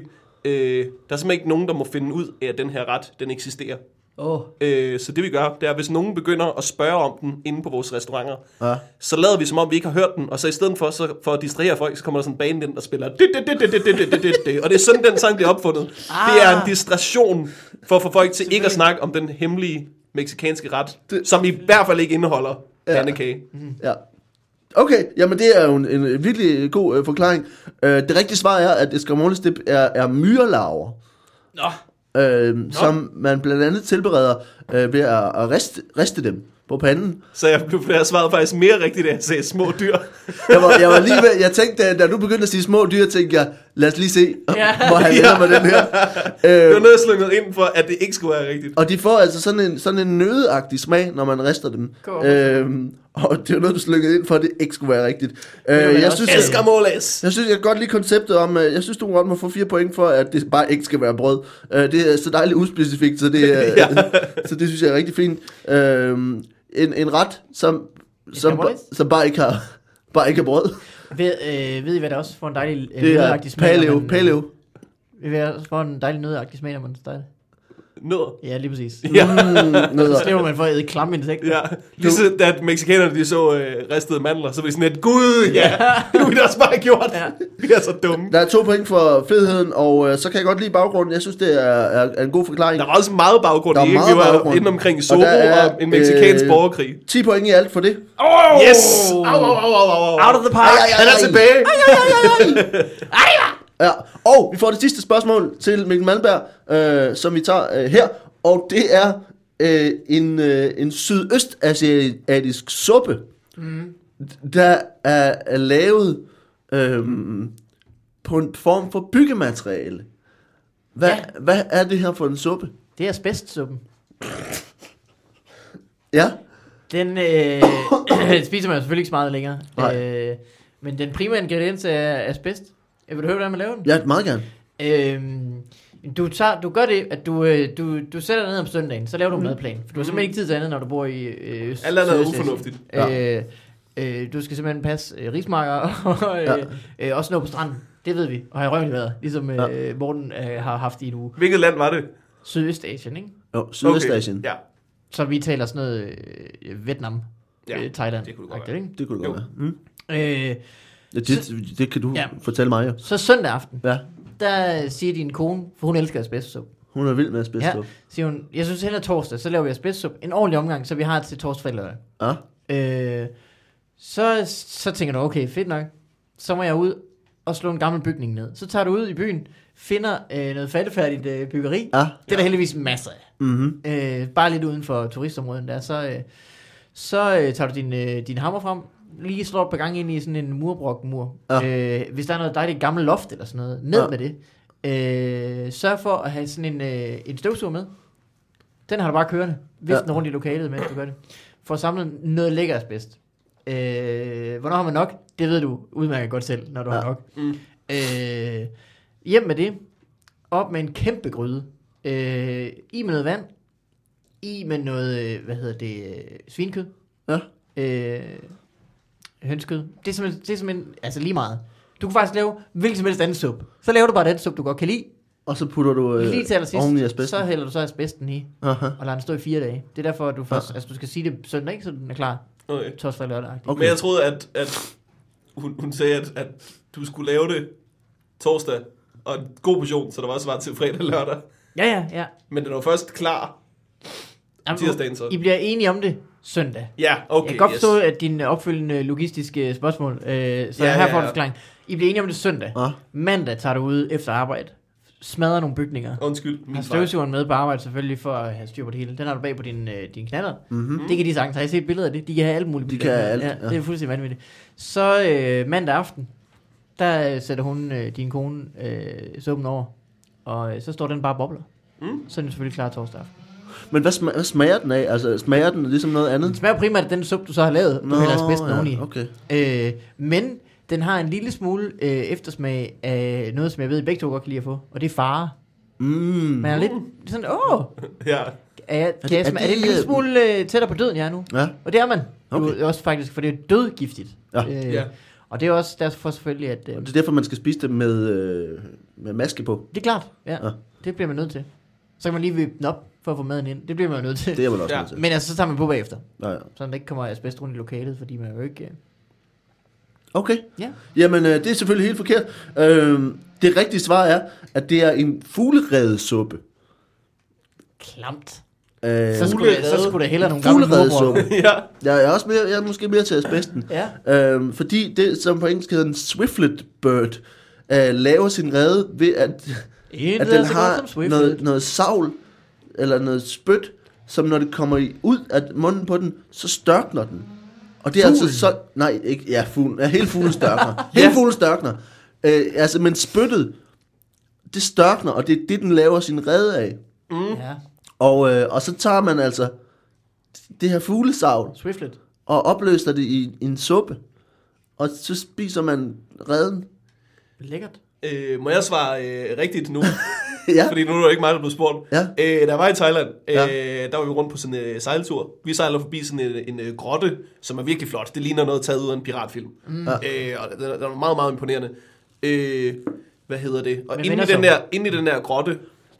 Speaker 2: øh, der er simpelthen ikke nogen, der må finde ud af, at den her ret, den eksisterer.
Speaker 3: Åh,
Speaker 2: Øh, så det vi gør, det er, hvis nogen begynder at spørge om den inde på vores restauranter,
Speaker 1: Ja.
Speaker 2: så lader vi som om, vi ikke har hørt den, og så i stedet for, så, for at distrahere folk, så kommer der sådan en bane ind, der spiller dit, dit, dit, dit, dit, dit, dit, dit, dit, dit. og det er sådan, den sang bliver opfundet. Ah. Det er en distraktion for at få folk til ikke at snakke om den hemmelige meksikanske ret, det. som i hvert fald ikke indeholder
Speaker 1: Ja.
Speaker 2: pandekage.
Speaker 1: Ja. Okay, jamen det er jo en, en virkelig god øh, forklaring. Øh, det rigtige svar er, at escamoles det er, er myrelarver,
Speaker 3: Nå.
Speaker 1: øh, som man blandt andet tilbereder øh, ved at, at riste, riste dem på panden.
Speaker 2: Så jeg, jeg svarede faktisk mere rigtigt, da jeg sagde små dyr.
Speaker 1: Jeg var, jeg var lige ved, jeg tænkte, da- da du begyndte at sige små dyr, tænkte jeg, lad os lige se,
Speaker 3: Ja.
Speaker 1: hvor han ender med den her.
Speaker 2: Det var
Speaker 1: Øh,
Speaker 2: noget, jeg slungede ind for, at det ikke skulle være rigtigt.
Speaker 1: og de får altså sådan en, sådan en nødeagtig smag, når man rister dem.
Speaker 3: Godt.
Speaker 1: Øh, og det var noget, du slykkede ind for, at det ikke skulle være rigtigt. Øh,
Speaker 3: man
Speaker 1: jeg
Speaker 3: også
Speaker 1: synes,
Speaker 3: elsker.
Speaker 1: jeg,
Speaker 2: Escamoles!
Speaker 1: jeg synes, jeg kan godt lide konceptet om, øh, jeg synes, du godt må få fire point for, at det bare ikke skal være brød. Øh, det er så dejligt uspecifikt, så det, øh,
Speaker 2: Ja.
Speaker 1: så det synes jeg er rigtig fint. Øh, en, en ret, som, som,
Speaker 3: Escamoles?
Speaker 1: som bare ikke har bare ikke har brød.
Speaker 3: Ved, øh, ved I, hvad der også får en dejlig øh,
Speaker 1: Det er
Speaker 3: nødagtig smag? når
Speaker 1: paleo,
Speaker 3: man- øh,
Speaker 1: paleo.
Speaker 3: Ved I, hvad der også får en dejlig nødagtig smag, når man starter?
Speaker 2: Nødder.
Speaker 3: Ja, lige præcis.
Speaker 2: Ja.
Speaker 1: Mm, nødder.
Speaker 3: Så slipper man for at æde klamme insekter.
Speaker 2: Ja, lige så, da mexikanerne de så øh, ristede mandler, så var de sådan lidt, gud, ja, det ville vi da også bare have gjort.
Speaker 3: Ja.
Speaker 2: Ja. Vi er så dumme.
Speaker 1: Der er to point for fedheden, og øh, så kan jeg godt lide baggrunden. Jeg synes, det er, er, er en god forklaring.
Speaker 2: Der var også meget baggrund
Speaker 1: Der
Speaker 2: i,
Speaker 1: er
Speaker 2: ikke?
Speaker 1: meget
Speaker 2: Vi var
Speaker 1: baggrund.
Speaker 2: baggrund. inde omkring
Speaker 1: Og
Speaker 2: Soho
Speaker 1: der
Speaker 2: og,
Speaker 1: er,
Speaker 2: en mexikansk
Speaker 1: øh,
Speaker 2: borgerkrig.
Speaker 1: 10 point i alt for det.
Speaker 2: Oh! Yes! Au, au, au, au, au.
Speaker 3: Out of the park!
Speaker 1: Ej, ej, ej.
Speaker 2: Han er tilbage.
Speaker 1: Ja. Og vi får det sidste spørgsmål til Mikkel Malmberg, øh, som vi tager øh, her. Og det er øh, en, øh, en sydøstasiatisk suppe, mm. der er, er lavet øh, på en form for byggemateriale. Hvad,
Speaker 3: Ja.
Speaker 1: hvad er det her for en suppe?
Speaker 3: Det er asbestsuppen.
Speaker 1: Ja,
Speaker 3: Den øh, spiser man jo selvfølgelig ikke så meget længere.
Speaker 1: Nej.
Speaker 3: Øh, men den primære ingrediens er asbest. Jeg vil du høre, hvordan man laver den?
Speaker 1: ja meget gerne.
Speaker 3: Øhm, du, tager, du gør det, at du, øh, du, du sætter dig ned om søndagen, så laver du en madplan. For du har simpelthen ikke tid til andet, når du bor i øh, Øst-
Speaker 2: Alt andet er
Speaker 3: Sydøstasien.
Speaker 2: ufornuftigt.
Speaker 3: Øh, øh, du skal simpelthen passe øh, rismarker og øh, øh, også nå på stranden. Det ved vi, og har i røven i vejret, ligesom øh, Morten øh, har haft i en uge.
Speaker 2: Hvilket land var det?
Speaker 3: Sydøstasien, ikke?
Speaker 1: Jo, Sydøstasien.
Speaker 2: Ja.
Speaker 3: Så vi taler sådan noget øh, Vietnam,
Speaker 2: Ja,
Speaker 3: øh, Thailand.
Speaker 2: det kunne det godt
Speaker 3: agtigt,
Speaker 1: Det kunne det
Speaker 2: Jo.
Speaker 1: godt være. Mm.
Speaker 3: ikke? Øh,
Speaker 1: Ja, det, det kan du ja.
Speaker 3: Ja.
Speaker 1: fortælle mig jo.
Speaker 3: så søndag aften,
Speaker 1: Ja,
Speaker 3: der siger din kone, for hun elsker asbestsuppe.
Speaker 1: hun er vild med asbest.
Speaker 3: Ja,
Speaker 1: Ja.
Speaker 3: siger hun, jeg synes hellere torsdag, så laver vi asbestsuppe. En ordentlig omgang, så vi har til torsdag eller
Speaker 1: ja.
Speaker 3: lørdag. Øh, så, så tænker du, okay, fedt nok. Så må jeg ud og slå en gammel bygning ned. Så tager du ud i byen, finder øh, noget faldefærdigt øh, byggeri.
Speaker 1: Ja.
Speaker 3: Det er der heldigvis masser af.
Speaker 1: Mm-hmm.
Speaker 3: Øh, bare lidt uden for turistområdet der. Så, øh, så øh, tager du din, øh, din hammer frem, lige slår et par gange ind i sådan en murbrok mur.
Speaker 1: Ja.
Speaker 3: Ja. Øh, hvis der er noget dejligt gammelt loft eller sådan noget, ned
Speaker 1: Ja.
Speaker 3: ja. med det. Øh, sørg for at have sådan en, øh, en støvsuger med. Den har du bare kørende. Hvis
Speaker 1: Ja.
Speaker 3: den rundt i lokalet, mens du gør det. For at samle noget lækker asbest. Øh, hvornår har man nok? Det ved du udmærket godt selv, når du ja. har
Speaker 1: Ja.
Speaker 3: nok.
Speaker 2: Mm.
Speaker 3: Øh, hjem med det. Op med en kæmpe gryde. Øh, I med noget vand. I med noget, øh, hvad hedder det, øh, svinkød.
Speaker 1: Ja.
Speaker 3: Øh, hønskød. Det er, simpelthen, det er simpelthen, altså lige meget. Du kan faktisk lave hvilken som helst anden suppe. Så laver du bare den suppe, du godt kan lide.
Speaker 1: Og så putter du øh,
Speaker 3: Lige til allersidst,
Speaker 1: oven i asbesten.
Speaker 3: så hælder du så asbesten i,
Speaker 1: Aha.
Speaker 3: og lader den stå i fire dage. Det er derfor, at du først, altså du skal sige det søndag, ikke? Så den er klar
Speaker 2: Okay.
Speaker 3: torsdag og lørdag.
Speaker 1: Okay.
Speaker 2: Men jeg troede, at, at hun, hun sagde, at, at du skulle lave det torsdag, og en god portion, så der var også var til fredag og lørdag.
Speaker 3: Ja, ja, ja.
Speaker 2: Men den var først klar.
Speaker 3: Jamen,
Speaker 2: Tirsdagen så.
Speaker 3: I bliver enige om det søndag.
Speaker 2: Ja,
Speaker 3: Okay,
Speaker 2: okay.
Speaker 3: jeg kan godt
Speaker 2: yes.
Speaker 3: forstå, at dine opfølgende logistiske spørgsmål, øh, så
Speaker 2: Ja,
Speaker 3: ja, her
Speaker 2: ja,
Speaker 3: får du
Speaker 2: ja.
Speaker 3: forklaring. I bliver enige om det søndag.
Speaker 1: Ja.
Speaker 3: Mandag tager du ud efter arbejde, smadrer nogle bygninger,
Speaker 2: Undskyld, min
Speaker 3: Har
Speaker 2: fejl.
Speaker 3: Altså, støvsugeren med på arbejde selvfølgelig for at have styr på det hele. Den har du bag på din, øh, din knaller. Mm-hmm. Det kan de sagtens. Har I set billeder af det? De kan have alt muligt.
Speaker 1: Mhm. De
Speaker 3: billeder.
Speaker 1: kan alt,
Speaker 3: Ja,
Speaker 1: ja.
Speaker 3: det er fuldstændig vanvittigt. Så øh, mandag aften, der øh, sætter hun, øh, din kone, øh, suppen over. Og øh, så står den bare og bobler. Mm. Så er den selvfølgelig klar torsdag aften.
Speaker 1: Men hvad, smager, hvad smager den af? Altså, smager den ligesom noget andet?
Speaker 3: Den smager primært af den suppe, du så har lavet. Du Nå, hælder asbesten ja, oveni.
Speaker 1: okay.
Speaker 3: Øh, men den har en lille smule øh, eftersmag af noget, som jeg ved, I begge to godt kan lide at få. Og det er fare.
Speaker 1: Mm.
Speaker 3: Man er lidt sådan, åh,
Speaker 2: Ja.
Speaker 3: er, jeg, kan
Speaker 1: det-
Speaker 3: jeg,
Speaker 1: er
Speaker 3: smage- er det en
Speaker 1: det,
Speaker 3: lille
Speaker 1: øh,
Speaker 3: smule øh, tættere på døden, jeg er nu?
Speaker 1: Ja.
Speaker 3: Og det er man.
Speaker 1: Okay.
Speaker 3: Okay. Også faktisk, for det er dødgiftigt.
Speaker 1: Ja.
Speaker 3: Øh,
Speaker 2: Ja.
Speaker 3: Og det er også derfor selvfølgelig, at... Øh,
Speaker 1: Og det
Speaker 3: det,
Speaker 1: er derfor, man skal spise det med, øh, med maske på.
Speaker 3: er klart, ja,
Speaker 1: Ja.
Speaker 3: ja. Det bliver man nødt til. Så kan man lige vippe den op for at få maden ind. Det bliver man jo nødt til.
Speaker 1: Det er man også
Speaker 2: Ja.
Speaker 1: nødt til.
Speaker 3: Men altså, så tager man på bagefter.
Speaker 1: Nå, ja.
Speaker 3: Så der ikke kommer asbest rundt i lokalet, fordi man jo ikke... Øh,
Speaker 1: Okay.
Speaker 3: ja.
Speaker 1: Jamen, øh, det er selvfølgelig helt forkert. Øh, det rigtige svar er, at det er en fugleredesuppe.
Speaker 3: Klamt.
Speaker 1: Øh,
Speaker 3: Så skulle, der, så skulle der hellere nogle gamle morbrød.
Speaker 1: fugleredesuppe.
Speaker 2: ja.
Speaker 1: Jeg er, også mere, jeg er måske mere til asbesten.
Speaker 3: Ja.
Speaker 1: Øhm, fordi det, som på engelsk hedder en swiftlet bird, øh, laver sin rede ved, at,
Speaker 3: Intet
Speaker 1: at
Speaker 3: er
Speaker 1: den
Speaker 3: så altså godt som
Speaker 1: har
Speaker 3: Swift.
Speaker 1: noget, noget savl, eller noget spyt, som når det kommer i, ud af munden på den, så størkner den. Og det er
Speaker 3: Fuglen?
Speaker 1: altså så... Nej, ikke, ja, fuglen, ja, hele fuglen størkner. Hele
Speaker 3: Ja.
Speaker 1: fuglen størkner. Øh, altså, men spyttet, det størkner, og det er det, den laver sin rede af.
Speaker 3: Ja.
Speaker 1: Og, øh, og så tager man altså det her fuglesavl,
Speaker 3: Swiftlet.
Speaker 1: og opløser det i en suppe. Og så spiser man reden.
Speaker 3: Lækkert.
Speaker 2: Øh, må jeg svare øh, rigtigt nu?
Speaker 1: ja,
Speaker 2: Fordi nu er det ikke mig, der blev spurgt.
Speaker 1: Ja.
Speaker 2: Øh, da jeg var i Thailand, øh,
Speaker 1: Ja.
Speaker 2: der var vi rundt på sådan en øh, sejltur. Vi sejler forbi sådan en, en øh, grotte, som er virkelig flot. Det ligner noget taget ud af en piratfilm. Mm. Øh, og den, er- den var meget, meget imponerende. Øh, hvad hedder det? Og
Speaker 3: Men
Speaker 2: inde i,
Speaker 3: vender
Speaker 2: den
Speaker 3: sig
Speaker 2: der, inde i den der grotte,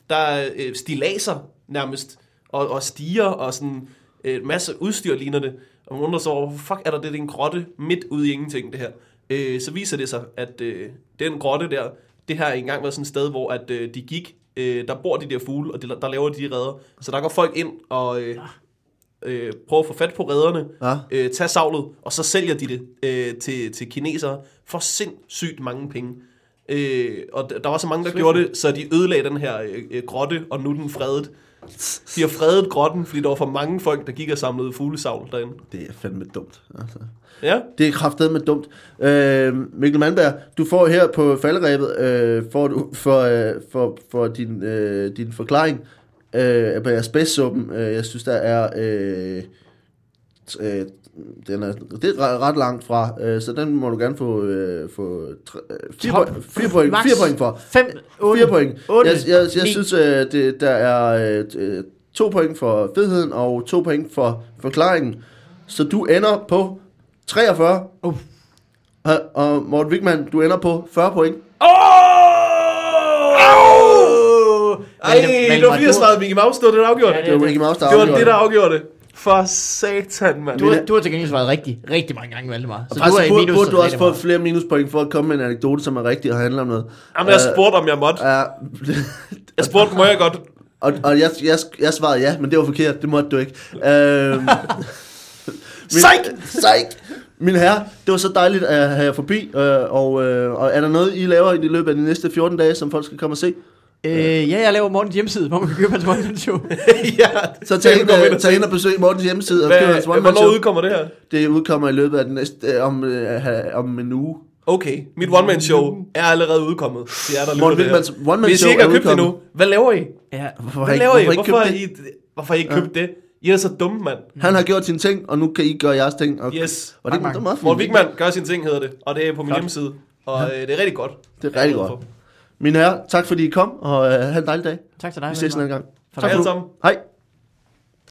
Speaker 2: der er øh, stilaser nærmest, og, og stiger, og sådan øh, masse udstyr ligner det. Og man undrer sig over, hvorfor fuck er der det, det er en grotte midt ude i ingenting, det her. Øh, så viser det sig, at øh, den grotte der, det her har engang været sådan et sted, hvor at, øh, de gik, øh, der bor de der fugle, og de, der laver de redder. Så der går folk ind og øh, øh, prøver at få fat på redderne,
Speaker 1: Ja.
Speaker 2: øh, tager savlet, og så sælger de det øh, til, til kinesere for sindssygt mange penge. Øh, og d- der var så mange, der gjorde det, så de ødelagde den her øh, øh, grotte, og nu er den fredet. De har fredet grotten, fordi der var for mange folk, der gik og samlede fuglesavl derinde.
Speaker 1: det er fandme dumt. Altså.
Speaker 2: Ja,
Speaker 1: Det er kraftedeme dumt. Øh, Mikkel Mandberg, du får her på falderæbet, øh, får du for, øh, for, for din, øh, din forklaring øh, på asbestsuppen. Øh, jeg synes, der er... Øh, t- øh, den er, det er ret- ret langt fra, øh, så den må du gerne få, øh, få tre, øh, fire,
Speaker 3: Top.
Speaker 1: point, fire, point,
Speaker 3: Max.
Speaker 1: fire point for.
Speaker 3: 5, 8,
Speaker 1: 4 point.
Speaker 3: 8,
Speaker 1: jeg, jeg, jeg
Speaker 3: ni.
Speaker 1: synes, øh, det, der er øh, øh, to point for fedheden og to point for forklaringen. Så du ender på 43.
Speaker 3: Uh.
Speaker 1: Og, og Morten Wigman, du ender på 40 point.
Speaker 2: Oh! Ej,
Speaker 3: Valdemar,
Speaker 2: det var fordi, jeg
Speaker 3: du-
Speaker 2: svarede Mickey Mouse, det var det, der afgjorde
Speaker 3: Ja,
Speaker 2: det.
Speaker 1: Det var Mickey Mouse, der
Speaker 2: Det var
Speaker 1: afgjorde
Speaker 2: det, der afgjorde det. For satan, mand.
Speaker 3: Du, har- du har til gengæld svaret rigtig, rigtig mange gange, Valdemar. Så
Speaker 1: Og
Speaker 3: du er i
Speaker 1: faktisk burde,
Speaker 3: minus.
Speaker 1: burde du
Speaker 3: rigtig
Speaker 1: også få
Speaker 3: meget.
Speaker 1: flere minuspoint for at komme med en anekdote, som er rigtig og handler om noget.
Speaker 2: Jamen,
Speaker 1: Øh,
Speaker 2: jeg spurgte, om jeg måtte.
Speaker 1: Uh,
Speaker 2: Jeg spurgte, må jeg godt?
Speaker 1: og og jeg, jeg, jeg svarede ja, men det var forkert. Det måtte du ikke. Uh,
Speaker 2: Psych!
Speaker 1: Psych! Min herre, det var så dejligt at have jer forbi, øh, og, øh, og er der noget, I laver i løbet af de næste 14 dage, som folk skal komme og se?
Speaker 3: Øh, ja, jeg laver Mortens hjemmeside, hvor man kan købe hans one-man-show.
Speaker 2: ja,
Speaker 1: Så tag
Speaker 2: det
Speaker 1: ind,
Speaker 2: går ind
Speaker 1: øh,
Speaker 2: og
Speaker 1: tag
Speaker 2: se.
Speaker 1: ind og besøg Mortens hjemmeside og
Speaker 2: Hvad,
Speaker 1: køb hans one
Speaker 2: hvornår
Speaker 1: show.
Speaker 2: udkommer det her?
Speaker 1: Det udkommer i løbet af den næste, øh, om, øh, ha- om en uge.
Speaker 2: Okay, mit one-man-show er allerede udkommet til jer, der
Speaker 1: Morten
Speaker 2: lytter
Speaker 1: Wigmans
Speaker 2: det her.
Speaker 1: one-man-show
Speaker 2: Hvis I ikke har
Speaker 1: er
Speaker 2: købt det
Speaker 1: udkommet.
Speaker 2: nu, hvad laver I?
Speaker 3: Ja.
Speaker 1: Hvorfor har
Speaker 2: Hvad
Speaker 1: I,
Speaker 2: laver I?
Speaker 1: hvorfor har I ikke
Speaker 2: Hvorfor har
Speaker 1: købt det?
Speaker 2: I, hvorfor har I ikke købt det? I er så dumme, mand.
Speaker 1: Han har gjort sine ting, og nu kan I gøre jeres ting. Og,
Speaker 2: Yes.
Speaker 1: og det, det er meget
Speaker 2: Morten
Speaker 1: fint.
Speaker 2: Wigman gør sine ting, hedder det. Og det er på min hjemmeside. Og øh, det er rigtig godt.
Speaker 1: Det er rigtig
Speaker 2: Jeg glad for.
Speaker 1: godt. Mine herrer, tak fordi I kom, og øh, have en dejlig dag.
Speaker 3: Tak til dig.
Speaker 1: Vi ses en
Speaker 3: Valdemar.
Speaker 1: anden gang.
Speaker 2: Tak alle sammen.
Speaker 1: Hej.